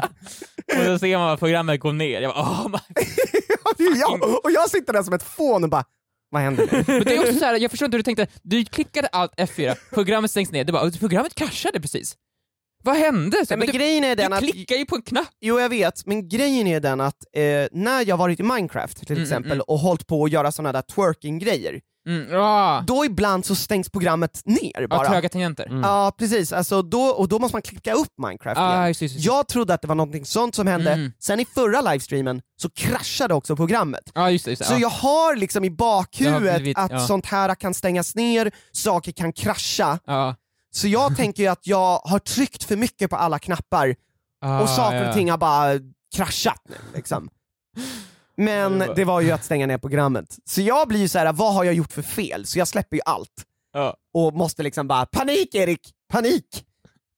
[SPEAKER 4] Och så ser man att programmet går ner. Jag bara, oh my
[SPEAKER 3] Och det är jag, och jag sitter där som ett fån och bara vad händer nu?
[SPEAKER 4] Men det är också så här, jag förstår inte hur du tänkte. Du klickade allt F4, programmet stängs ner. Du bara, programmet kraschade precis. Vad hände? Så, du,
[SPEAKER 3] grejen är
[SPEAKER 4] du klickar ju på en knapp.
[SPEAKER 3] Jo jag vet, men grejen är den att eh, när jag varit i Minecraft till
[SPEAKER 4] Mm,
[SPEAKER 3] exempel
[SPEAKER 4] mm,
[SPEAKER 3] och hållit på att göra sådana där twerking-grejer,
[SPEAKER 4] Mm, ah.
[SPEAKER 3] då ibland så stängs programmet ner
[SPEAKER 4] Ja,
[SPEAKER 3] bara.
[SPEAKER 4] tröga tangenter.
[SPEAKER 2] Mm.
[SPEAKER 3] Ja precis, alltså då, och då måste man klicka upp Minecraft
[SPEAKER 4] Ah,
[SPEAKER 3] igen.
[SPEAKER 4] just, just, just.
[SPEAKER 3] Jag trodde att det var någonting sånt som hände,
[SPEAKER 4] Mm.
[SPEAKER 3] sen i förra livestreamen så kraschade också programmet.
[SPEAKER 4] Ja, Ah, just, det, just, det,
[SPEAKER 3] Så
[SPEAKER 4] ja.
[SPEAKER 3] jag har liksom i
[SPEAKER 4] Det har
[SPEAKER 3] bakhuvudet
[SPEAKER 4] blivit-
[SPEAKER 3] att
[SPEAKER 4] ja.
[SPEAKER 3] sånt här kan stängas ner, saker kan krascha,
[SPEAKER 4] Ja.
[SPEAKER 3] så jag tänker ju att jag har tryckt för mycket på alla knappar
[SPEAKER 4] Ah,
[SPEAKER 3] och saker
[SPEAKER 4] ja.
[SPEAKER 3] och ting har bara kraschat nu liksom. Men det var ju att stänga ner programmet. Så jag blir ju så här: vad har jag gjort för fel? Så jag släpper ju allt.
[SPEAKER 4] Ja.
[SPEAKER 3] Och måste liksom bara, panik Erik! Panik!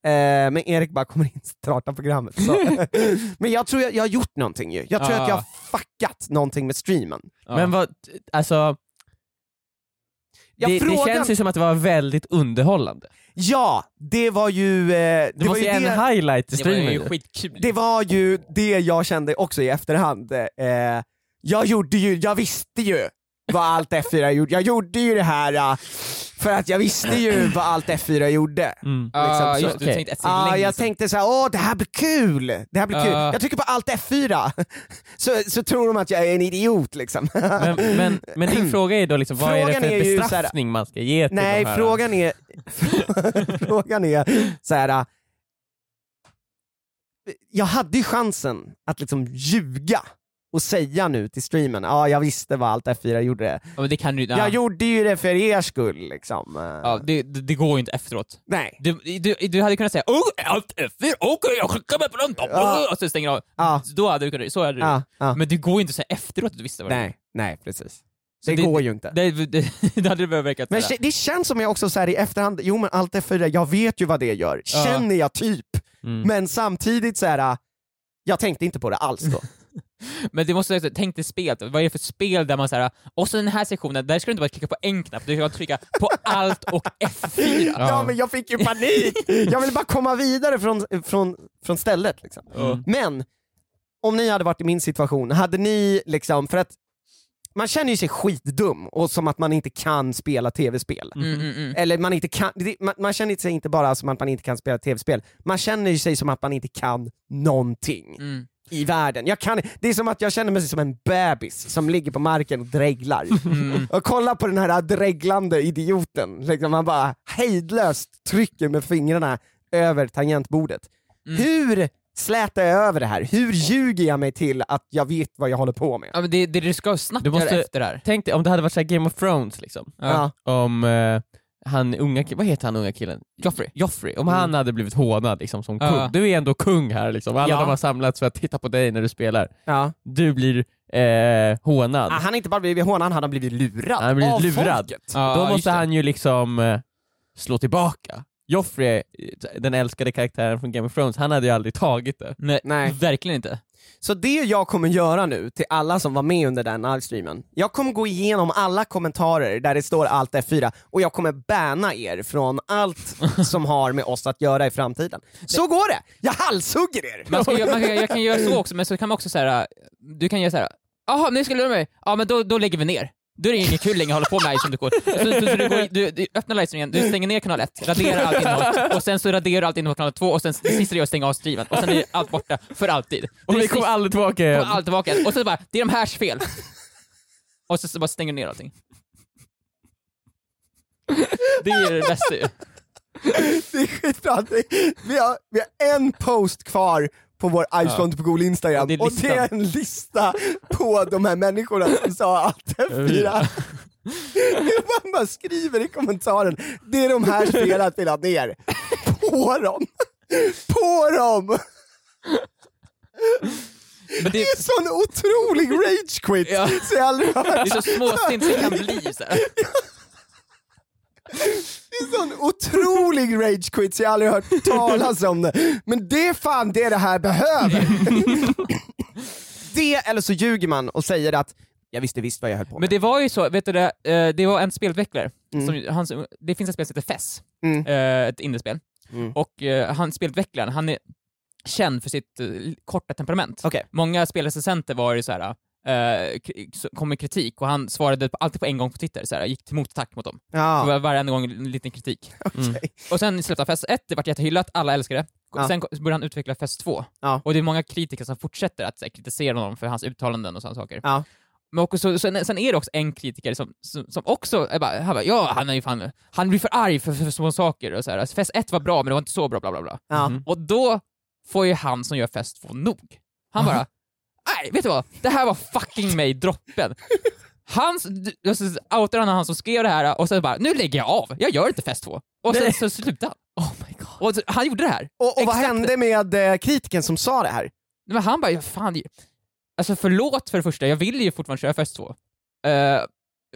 [SPEAKER 3] Eh, men Erik bara kommer in och startar programmet. Så. men jag tror jag, jag har gjort någonting ju. Jag tror
[SPEAKER 4] Ja.
[SPEAKER 2] Ah.
[SPEAKER 3] att jag har fuckat någonting med streamen.
[SPEAKER 4] Ja.
[SPEAKER 2] Men vad, alltså,
[SPEAKER 3] Jag
[SPEAKER 2] det, det
[SPEAKER 3] frågar-
[SPEAKER 2] känns ju som att det var väldigt underhållande.
[SPEAKER 3] Ja, det var ju... Eh, det
[SPEAKER 2] Det,
[SPEAKER 3] var
[SPEAKER 2] var ju en
[SPEAKER 3] det,
[SPEAKER 2] highlight i
[SPEAKER 4] det var
[SPEAKER 2] streamen.
[SPEAKER 4] ju
[SPEAKER 2] ju.
[SPEAKER 4] skitkul.
[SPEAKER 3] det var ju det jag kände också i efterhand. Eh, jag gjorde ju, jag visste ju vad allt F4 gjorde. Jag gjorde ju det här eh, för att jag visste ju vad allt F4 gjorde.
[SPEAKER 2] Mm.
[SPEAKER 4] ah,
[SPEAKER 3] liksom så.
[SPEAKER 4] just, det, du
[SPEAKER 2] Okej.
[SPEAKER 4] tänkte ett liksom. steg
[SPEAKER 3] Ah,
[SPEAKER 4] längre.
[SPEAKER 3] jag tänkte så här, åh det här blir kul! Det här blir kul.
[SPEAKER 4] Ah.
[SPEAKER 3] Jag trycker på allt F4, så, så tror de att jag är en idiot liksom.
[SPEAKER 2] Men, men, men din fråga är då liksom, vad är det
[SPEAKER 3] Frågan
[SPEAKER 2] för
[SPEAKER 3] är ju så här-
[SPEAKER 2] bestraffning man ska ge till
[SPEAKER 3] Nej,
[SPEAKER 2] de här?
[SPEAKER 3] frågan är, frågan är så här. äh, jag hade ju chansen att liksom ljuga och säga nu till streamen, ja jag visste vad allt F4 gjorde.
[SPEAKER 4] Ja, men det kan du ja.
[SPEAKER 3] Jag gjorde ju det för er skull liksom. Äh,
[SPEAKER 4] ja, det, det, det går ju inte efteråt.
[SPEAKER 3] Nej.
[SPEAKER 4] Du, du, du hade kunnat säga oh, allt F4, okej jag klickar mig på den
[SPEAKER 3] Ja.
[SPEAKER 4] oh, och så stänger du av.
[SPEAKER 3] Ja.
[SPEAKER 4] Så Då hade du kunnat, så hade du
[SPEAKER 3] Ja, ja.
[SPEAKER 4] Men det går ju inte att säga efteråt att du visste vad det
[SPEAKER 3] Nej, nej precis.
[SPEAKER 4] Så
[SPEAKER 3] Det,
[SPEAKER 4] det-
[SPEAKER 3] går ju inte.
[SPEAKER 4] var. Det, det, det hade du behövt verkat
[SPEAKER 3] men
[SPEAKER 4] såhär.
[SPEAKER 3] kä- det känns som jag också så här i efterhand, jo men allt F4, jag vet ju vad det gör,
[SPEAKER 4] Ja.
[SPEAKER 3] känner jag typ.
[SPEAKER 2] Mm.
[SPEAKER 3] Men samtidigt så här. äh, jag tänkte inte på det alls då.
[SPEAKER 4] Men du måste också, tänk dig spelet, vad är det för spel där man såhär, och så den här sektionen, där ska du inte bara klicka på en knapp, du ska trycka på allt och F4.
[SPEAKER 3] Ja men jag fick ju panik! Jag ville bara komma vidare från, från, från stället. Liksom.
[SPEAKER 4] Mm.
[SPEAKER 3] Men, om ni hade varit i min situation, hade ni liksom, för att man känner ju sig skitdum och som att man inte kan spela tv-spel.
[SPEAKER 4] Mm, mm, mm.
[SPEAKER 3] Eller man, inte kan, det- man, man känner sig inte bara som att man inte kan spela tv-spel, man känner ju sig som att man inte kan någonting
[SPEAKER 4] Mm.
[SPEAKER 3] i världen. Jag kan, det är som att jag känner mig som en bebis som ligger på marken och dreglar.
[SPEAKER 4] Mm.
[SPEAKER 3] Och kolla på den här dreglande idioten, liksom han bara hejdlöst trycker med fingrarna över tangentbordet.
[SPEAKER 4] Mm.
[SPEAKER 3] Hur slätar jag över det här? Hur ljuger jag mig till att jag vet vad jag håller på med?
[SPEAKER 4] Ja, men det, det du ska snabbt
[SPEAKER 2] Du måste-
[SPEAKER 4] göra efter det här.
[SPEAKER 2] Tänk dig om det hade varit så här Game of Thrones liksom.
[SPEAKER 3] Ja.
[SPEAKER 2] Om eh, han unga, ki- vad heter han unga killen?
[SPEAKER 4] Joffrey.
[SPEAKER 2] Joffrey, om
[SPEAKER 3] Mm.
[SPEAKER 2] han hade blivit hånad liksom som
[SPEAKER 4] Ja.
[SPEAKER 2] kung. Du är ändå kung här liksom, alla
[SPEAKER 3] Ja.
[SPEAKER 2] de har samlats för att titta på dig när du spelar.
[SPEAKER 3] Ja.
[SPEAKER 2] Du blir eh, hånad.
[SPEAKER 3] Ah, han har inte bara blivit hånad, han har blivit lurad.
[SPEAKER 2] Han har blivit
[SPEAKER 3] av
[SPEAKER 2] lurad.
[SPEAKER 3] folket.
[SPEAKER 4] Ja,
[SPEAKER 2] Då
[SPEAKER 4] just
[SPEAKER 2] måste
[SPEAKER 4] det.
[SPEAKER 2] han ju liksom eh, slå tillbaka. Joffrey, eh, den älskade karaktären från Game of Thrones, han hade ju aldrig tagit det.
[SPEAKER 4] Nej,
[SPEAKER 3] Nej.
[SPEAKER 4] verkligen inte.
[SPEAKER 3] Så det jag kommer göra nu till alla som var med under den livestreamen, jag kommer gå igenom alla kommentarer där det står allt F4 och jag kommer banna er från allt som har med oss att göra i framtiden. Så går det! Jag halshugger er!
[SPEAKER 4] Man ska, göra- man kan, jag kan göra så också, men så kan man också så här. du kan göra så här. jaha nu ska du lura mig, ja men då, då lägger vi ner. Då är det inget kul längre att hålla på med här som du går. Så, så, så du, går du, du öppnar livestreamingen, du stänger ner kanal 1, raderar allt innehåll, och sen så raderar du allt innehåll på kanal 2 och sen det sista du gör är att stänga av streamen och sen är allt borta för alltid.
[SPEAKER 2] Och vi
[SPEAKER 4] Precis,
[SPEAKER 2] kommer aldrig tillbaka igen.
[SPEAKER 4] kommer allt tillbaka. Och så bara, det är de härs fel. Och så, så bara stänger du ner allting. Det är det bästa ju.
[SPEAKER 3] Det är skitbra. Det- Vi har, vi har en post kvar på vår iPhone på Google Instagram
[SPEAKER 4] Och det är
[SPEAKER 3] och det är en lista på de här människorna som sa allt F4. Man bara skriver i kommentaren, det är de här spelen vi la ner. På dem! På dem!
[SPEAKER 4] Men det,
[SPEAKER 3] Det är sån otrolig rage quit
[SPEAKER 4] Ja.
[SPEAKER 3] så jag aldrig har hört.
[SPEAKER 4] det är så småsint det kan bli. Så här.
[SPEAKER 3] Det är sån otrolig rage quit så jag aldrig har hört talas om det. Men det är fan det det här behöver. det eller så ljuger man och säger att jag visste visst vad jag höll på
[SPEAKER 4] Men
[SPEAKER 3] med.
[SPEAKER 4] det var ju så, vet du det, eh, det var en spelutvecklare, som, han, som- det finns ett spel som heter Fess,
[SPEAKER 3] Mm.
[SPEAKER 4] eh, ett indiespel,
[SPEAKER 3] Mm.
[SPEAKER 4] och eh, han spelutvecklaren, han är känd för sitt eh, korta temperament.
[SPEAKER 3] Okej.
[SPEAKER 4] Många spelrecensenter var ju så här. eh, k- så kom med kritik och han svarade på- alltid på en gång på Twitter, så här, gick till motattack mot dem. Det
[SPEAKER 3] Ja, Mm.
[SPEAKER 4] var varje gång en liten kritik.
[SPEAKER 2] Mm.
[SPEAKER 3] okej.
[SPEAKER 4] Och sen släppte han Fest 1, det vart jättehyllat, alla älskade det.
[SPEAKER 3] Ja.
[SPEAKER 4] Sen började han utveckla Fest 2,
[SPEAKER 3] Ja.
[SPEAKER 4] och det är många kritiker som fortsätter att så här, kritisera honom för hans uttalanden och sådana saker.
[SPEAKER 3] Ja.
[SPEAKER 4] Men också, så, sen, sen är det också en kritiker som, som, som också är bara, han bara, ja han är ju fan, han blir för arg för, för, för små saker och så här. Alltså, Fest 1 var bra men det var inte så bra, bla bla bla.
[SPEAKER 3] Ja.
[SPEAKER 2] Mhm.
[SPEAKER 4] Och då får ju han som gör Fest 2 nog. Han bara, nej vet du vad, det här var fucking mig droppen. Hans, jag outar han han som skrev det här och sen bara, nu lägger jag av, jag gör inte Fest 2. Och sen så slutade han.
[SPEAKER 2] Oh my god.
[SPEAKER 4] Och så, han gjorde det här.
[SPEAKER 3] Och, och vad
[SPEAKER 4] Exakt.
[SPEAKER 3] hände med eh, kritiken som sa det här?
[SPEAKER 4] Men han bara, ja, fan, det- alltså förlåt för det första, jag vill ju fortfarande köra Fest 2. Eh,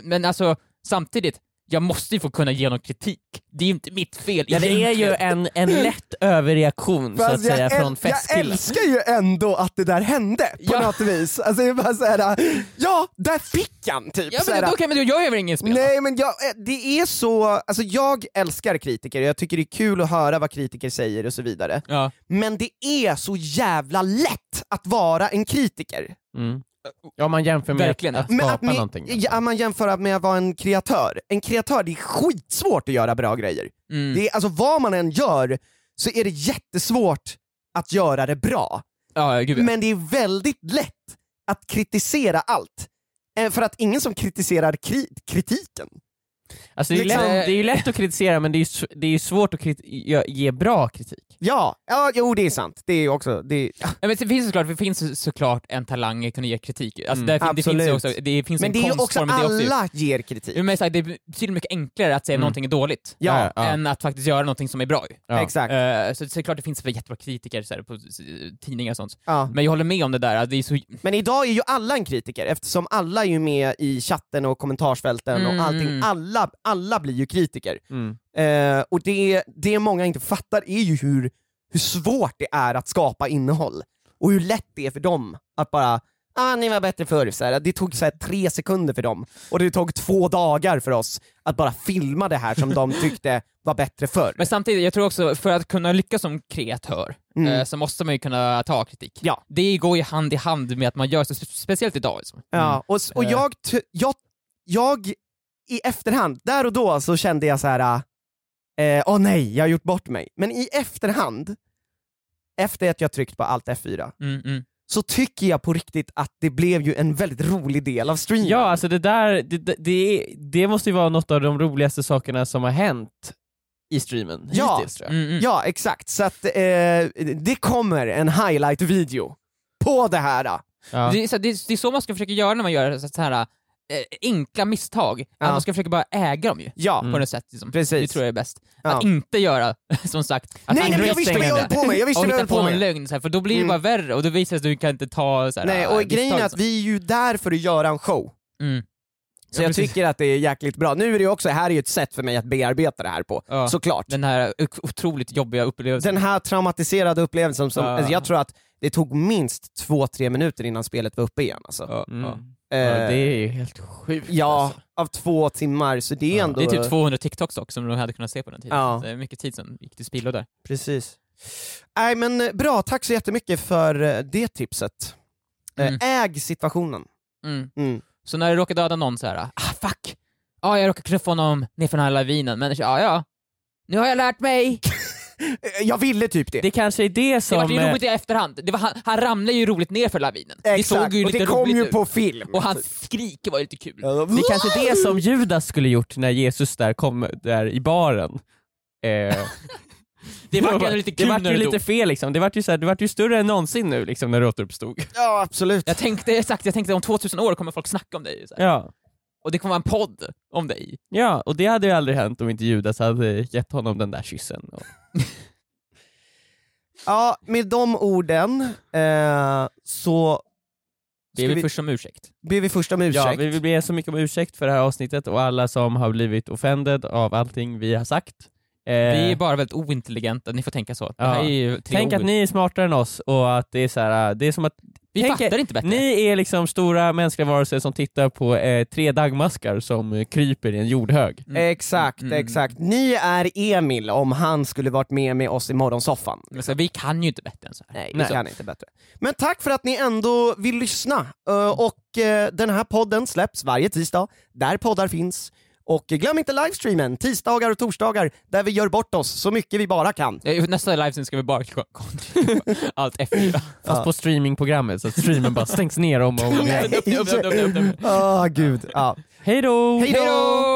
[SPEAKER 4] men alltså samtidigt, jag måste ju få kunna ge någon kritik. Det är ju inte mitt fel
[SPEAKER 2] Ja, det är ju
[SPEAKER 4] egentligen.
[SPEAKER 2] en, en lätt överreaktion så
[SPEAKER 3] Fast
[SPEAKER 2] att säga
[SPEAKER 3] jag, äl-
[SPEAKER 2] från
[SPEAKER 3] jag
[SPEAKER 2] festkillen.
[SPEAKER 3] älskar ju ändå att det där hände på
[SPEAKER 4] Ja.
[SPEAKER 3] något vis. Alltså det är bara såhär, ja, där fick han typ.
[SPEAKER 4] Ja
[SPEAKER 3] så
[SPEAKER 4] men
[SPEAKER 3] här,
[SPEAKER 4] då kan man, då gör jag väl ingen spel? va?
[SPEAKER 3] Nej men jag, eh, det är så, alltså jag älskar kritiker, jag tycker det är kul att höra vad kritiker säger och så vidare.
[SPEAKER 4] Ja.
[SPEAKER 3] Men det är så jävla lätt att vara en kritiker.
[SPEAKER 2] Mm. Ja, man jämför med
[SPEAKER 4] Verkligen,
[SPEAKER 2] att, att
[SPEAKER 3] Men
[SPEAKER 2] skapa
[SPEAKER 3] att ni,
[SPEAKER 2] någonting. liksom.
[SPEAKER 3] ja, man jämför med att vara en kreatör. En kreatör, det är skitsvårt att göra bra grejer.
[SPEAKER 4] Mm.
[SPEAKER 3] Det är, alltså vad man än gör så är det jättesvårt att göra det bra.
[SPEAKER 4] ja, gud ja.
[SPEAKER 3] Men det är väldigt lätt att kritisera allt. Eh, För att ingen som kritiserar kri- kritiken.
[SPEAKER 2] Alltså, det, är ju lätt,
[SPEAKER 3] liksom-
[SPEAKER 2] det är ju lätt att kritisera men det är ju, sv- det är ju svårt att kriti- ge- ge bra kritik.
[SPEAKER 3] Ja, ja, jo det är sant. Det är också, det är,
[SPEAKER 4] Ja, Men det finns såklart, det finns såklart en talang att kunna ge kritik. Alltså, där fin- det finns ju
[SPEAKER 3] Mm. absolut.
[SPEAKER 4] också, det finns
[SPEAKER 3] Men
[SPEAKER 4] en
[SPEAKER 3] det är ju också
[SPEAKER 4] konstform, det är också Mm. ju-
[SPEAKER 3] alla ger kritik.
[SPEAKER 4] Ja, Men så här, det är betydligt mycket enklare att säga någonting är dåligt,
[SPEAKER 3] Ja,
[SPEAKER 2] ja.
[SPEAKER 4] än att faktiskt göra någonting som är bra. ju.
[SPEAKER 2] Ja.
[SPEAKER 3] Exakt.
[SPEAKER 4] Eh, Så, så det är klart det finns väl jättebra kritiker så här, på s- tidningar och sånt.
[SPEAKER 3] Ja.
[SPEAKER 4] Men jag håller med om det där, att det är så...
[SPEAKER 3] Men idag är ju alla en kritiker eftersom alla är ju med i chatten och kommentarsfälten
[SPEAKER 4] Mm.
[SPEAKER 3] och allting. Alla, alla blir ju kritiker.
[SPEAKER 2] Mm.
[SPEAKER 3] Eh, och det, det många inte fattar är ju hur, hur svårt det är att skapa innehåll. Och hur lätt det är för dem att bara, ah, ni var bättre förr. Så här, det tog så här, tre sekunder för dem. Och det tog två dagar för oss att bara filma det här som de tyckte var bättre förr.
[SPEAKER 4] Men samtidigt, jag tror också, för att kunna lyckas som kreatör
[SPEAKER 3] Mm.
[SPEAKER 4] eh, så måste man ju kunna ta kritik.
[SPEAKER 3] Ja.
[SPEAKER 4] Det går ju hand i hand med att man gör så, spe- speciellt idag. Liksom.
[SPEAKER 3] Ja, och, s- och
[SPEAKER 4] Eh.
[SPEAKER 3] jag, t- jag, jag, i efterhand, där och då så kände jag så här. eh, åh nej, jag har gjort bort mig. Men i efterhand, efter att jag tryckt på allt F4,
[SPEAKER 4] Mm, mm.
[SPEAKER 3] så tycker jag på riktigt att det blev ju en väldigt rolig del av streamen.
[SPEAKER 2] Ja, alltså det där, det, det, det, det måste ju vara något av de roligaste sakerna som har hänt i streamen
[SPEAKER 3] Ja.
[SPEAKER 2] hittills tror jag.
[SPEAKER 4] Mm, mm.
[SPEAKER 3] Ja, exakt. Så att eh, det kommer en highlight-video på det här. eh.
[SPEAKER 2] Ja.
[SPEAKER 4] Det, är så, det, är- det är så man ska försöka göra när man gör så, så här, eh, enkla misstag. Att man ska fööka bara äga dem ju.
[SPEAKER 3] Ja,
[SPEAKER 4] På något sätt. Liksom.
[SPEAKER 3] Mm. Precis.
[SPEAKER 4] Det tror jag är bäst.
[SPEAKER 3] Ja.
[SPEAKER 4] Att inte göra, som sagt, att
[SPEAKER 3] nej, nej, men jag visste vad jag höll på med! Jag visste
[SPEAKER 4] och
[SPEAKER 3] vad jag
[SPEAKER 4] hitta
[SPEAKER 3] höll
[SPEAKER 4] på
[SPEAKER 3] på
[SPEAKER 4] en
[SPEAKER 3] med!
[SPEAKER 4] lögn, så här, för då blir det
[SPEAKER 3] Mm.
[SPEAKER 4] bara värre och då visar det sig att du kan inte ta så här,
[SPEAKER 3] Nej, och
[SPEAKER 4] äh,
[SPEAKER 3] grejen
[SPEAKER 4] misstag
[SPEAKER 3] är att
[SPEAKER 4] som-
[SPEAKER 3] vi är ju där för att göra en show.
[SPEAKER 4] Mm.
[SPEAKER 3] Så
[SPEAKER 4] Ja,
[SPEAKER 3] jag
[SPEAKER 4] precis.
[SPEAKER 3] tycker att det är jäkligt bra. Nu är det ju också, här är ju ett sätt för mig att bearbeta det här på,
[SPEAKER 4] Ja.
[SPEAKER 3] såklart.
[SPEAKER 4] Den här o- otroligt jobbiga upplevelsen.
[SPEAKER 3] Den här traumatiserade upplevelsen, som,
[SPEAKER 4] Ja.
[SPEAKER 3] alltså jag tror att det tog minst två, tre minuter innan spelet var uppe igen. Alltså.
[SPEAKER 4] Ja,
[SPEAKER 2] Mm.
[SPEAKER 4] ja.
[SPEAKER 2] Ja,
[SPEAKER 3] Eh,
[SPEAKER 2] det är ju helt sjukt
[SPEAKER 3] ja,
[SPEAKER 2] alltså.
[SPEAKER 3] av två timmar, så det är ändå...
[SPEAKER 4] Det är typ 200 TikToks också som de hade kunnat se på den tiden.
[SPEAKER 3] Ja.
[SPEAKER 4] Så Det är mycket tid som gick till spillo där.
[SPEAKER 3] Precis. Nej men eh, bra, tack så jättemycket för eh, det tipset. Eh,
[SPEAKER 4] Mm.
[SPEAKER 3] Äg situationen.
[SPEAKER 4] Mm.
[SPEAKER 3] Mm.
[SPEAKER 4] Så när du råkar döda någon så här, ah fuck! Ja, jag råkar knuffa honom ner för den här lavinen, men ja, ja. Nu har jag lärt mig!
[SPEAKER 3] Eh, Jag ville typ det.
[SPEAKER 2] Det kanske är det
[SPEAKER 4] Det
[SPEAKER 2] som... eh,
[SPEAKER 4] var ju roligt i efterhand. Det var, han, han ramlade ju roligt ner för lavinen. Det såg ju
[SPEAKER 3] och
[SPEAKER 4] lite
[SPEAKER 3] det kom
[SPEAKER 4] roligt
[SPEAKER 3] ju
[SPEAKER 4] ut.
[SPEAKER 3] på film.
[SPEAKER 4] Och hans skrik var ju lite kul.
[SPEAKER 3] Ja,
[SPEAKER 2] Det är kanske är det som Judas skulle gjort när Jesus där kom där i baren. Eh,
[SPEAKER 4] Det var ju lite
[SPEAKER 2] det
[SPEAKER 4] kul
[SPEAKER 2] vart
[SPEAKER 4] när
[SPEAKER 2] ju
[SPEAKER 4] du
[SPEAKER 2] lite
[SPEAKER 4] dog.
[SPEAKER 2] fel liksom, det vart ju, så här, det vart ju större än någonsin nu liksom, när det återuppstod.
[SPEAKER 3] Ja absolut.
[SPEAKER 4] Jag tänkte exakt, jag tänkte om 2000 år kommer folk snacka om dig. Så här.
[SPEAKER 2] Ja.
[SPEAKER 4] Och det kommer vara en podd om dig.
[SPEAKER 2] ja, och det hade ju aldrig hänt om inte Judas hade gett honom den där kyssen. Och...
[SPEAKER 3] Ja, med de orden eh, så
[SPEAKER 4] Det
[SPEAKER 3] Ska
[SPEAKER 4] är vi
[SPEAKER 3] vi-
[SPEAKER 4] först om ursäkt.
[SPEAKER 3] ber vi först om ursäkt.
[SPEAKER 2] Ja, vi vill be så mycket om ursäkt för det här avsnittet och alla som har blivit offended av allting vi har sagt. Eh,
[SPEAKER 4] Vi är bara väldigt ointelligenta, ni får tänka så. Det här
[SPEAKER 2] Ja.
[SPEAKER 4] är ju tre
[SPEAKER 2] Tänk
[SPEAKER 4] ord.
[SPEAKER 2] att ni är smartare än oss och att det är så här, det är som att
[SPEAKER 4] vi
[SPEAKER 2] tänk
[SPEAKER 4] fattar inte bättre.
[SPEAKER 2] ni är liksom stora mänskliga varelser som tittar på eh, tre dagmaskar som eh, kryper i en jordhög.
[SPEAKER 4] Mm.
[SPEAKER 3] Exakt,
[SPEAKER 4] Mm.
[SPEAKER 3] exakt. Ni är Emil om han skulle varit med med oss i morgonsoffan.
[SPEAKER 4] Men så, här, vi kan ju inte bättre än så här.
[SPEAKER 3] Nej,
[SPEAKER 2] Nej.
[SPEAKER 3] vi kan inte bättre. Men tack för att ni ändå vill lyssna.
[SPEAKER 2] Mm.
[SPEAKER 3] Eh, Och eh, den här podden släpps varje tisdag, där poddar finns. Och glöm inte livestreamen, tisdagar och torsdagar, där vi gör bort oss så mycket vi bara kan.
[SPEAKER 4] Eh, Nästa livestream ska vi bara k- kontinuera allt F4.
[SPEAKER 2] Fast
[SPEAKER 3] Ja.
[SPEAKER 2] på streamingprogrammet så att streamen bara stängs ner om och om igen.
[SPEAKER 4] Öppna, öppna, öppna, öppna, öppna.
[SPEAKER 3] Åh Ah, gud. Ja.
[SPEAKER 2] Hej då!
[SPEAKER 3] Hej då!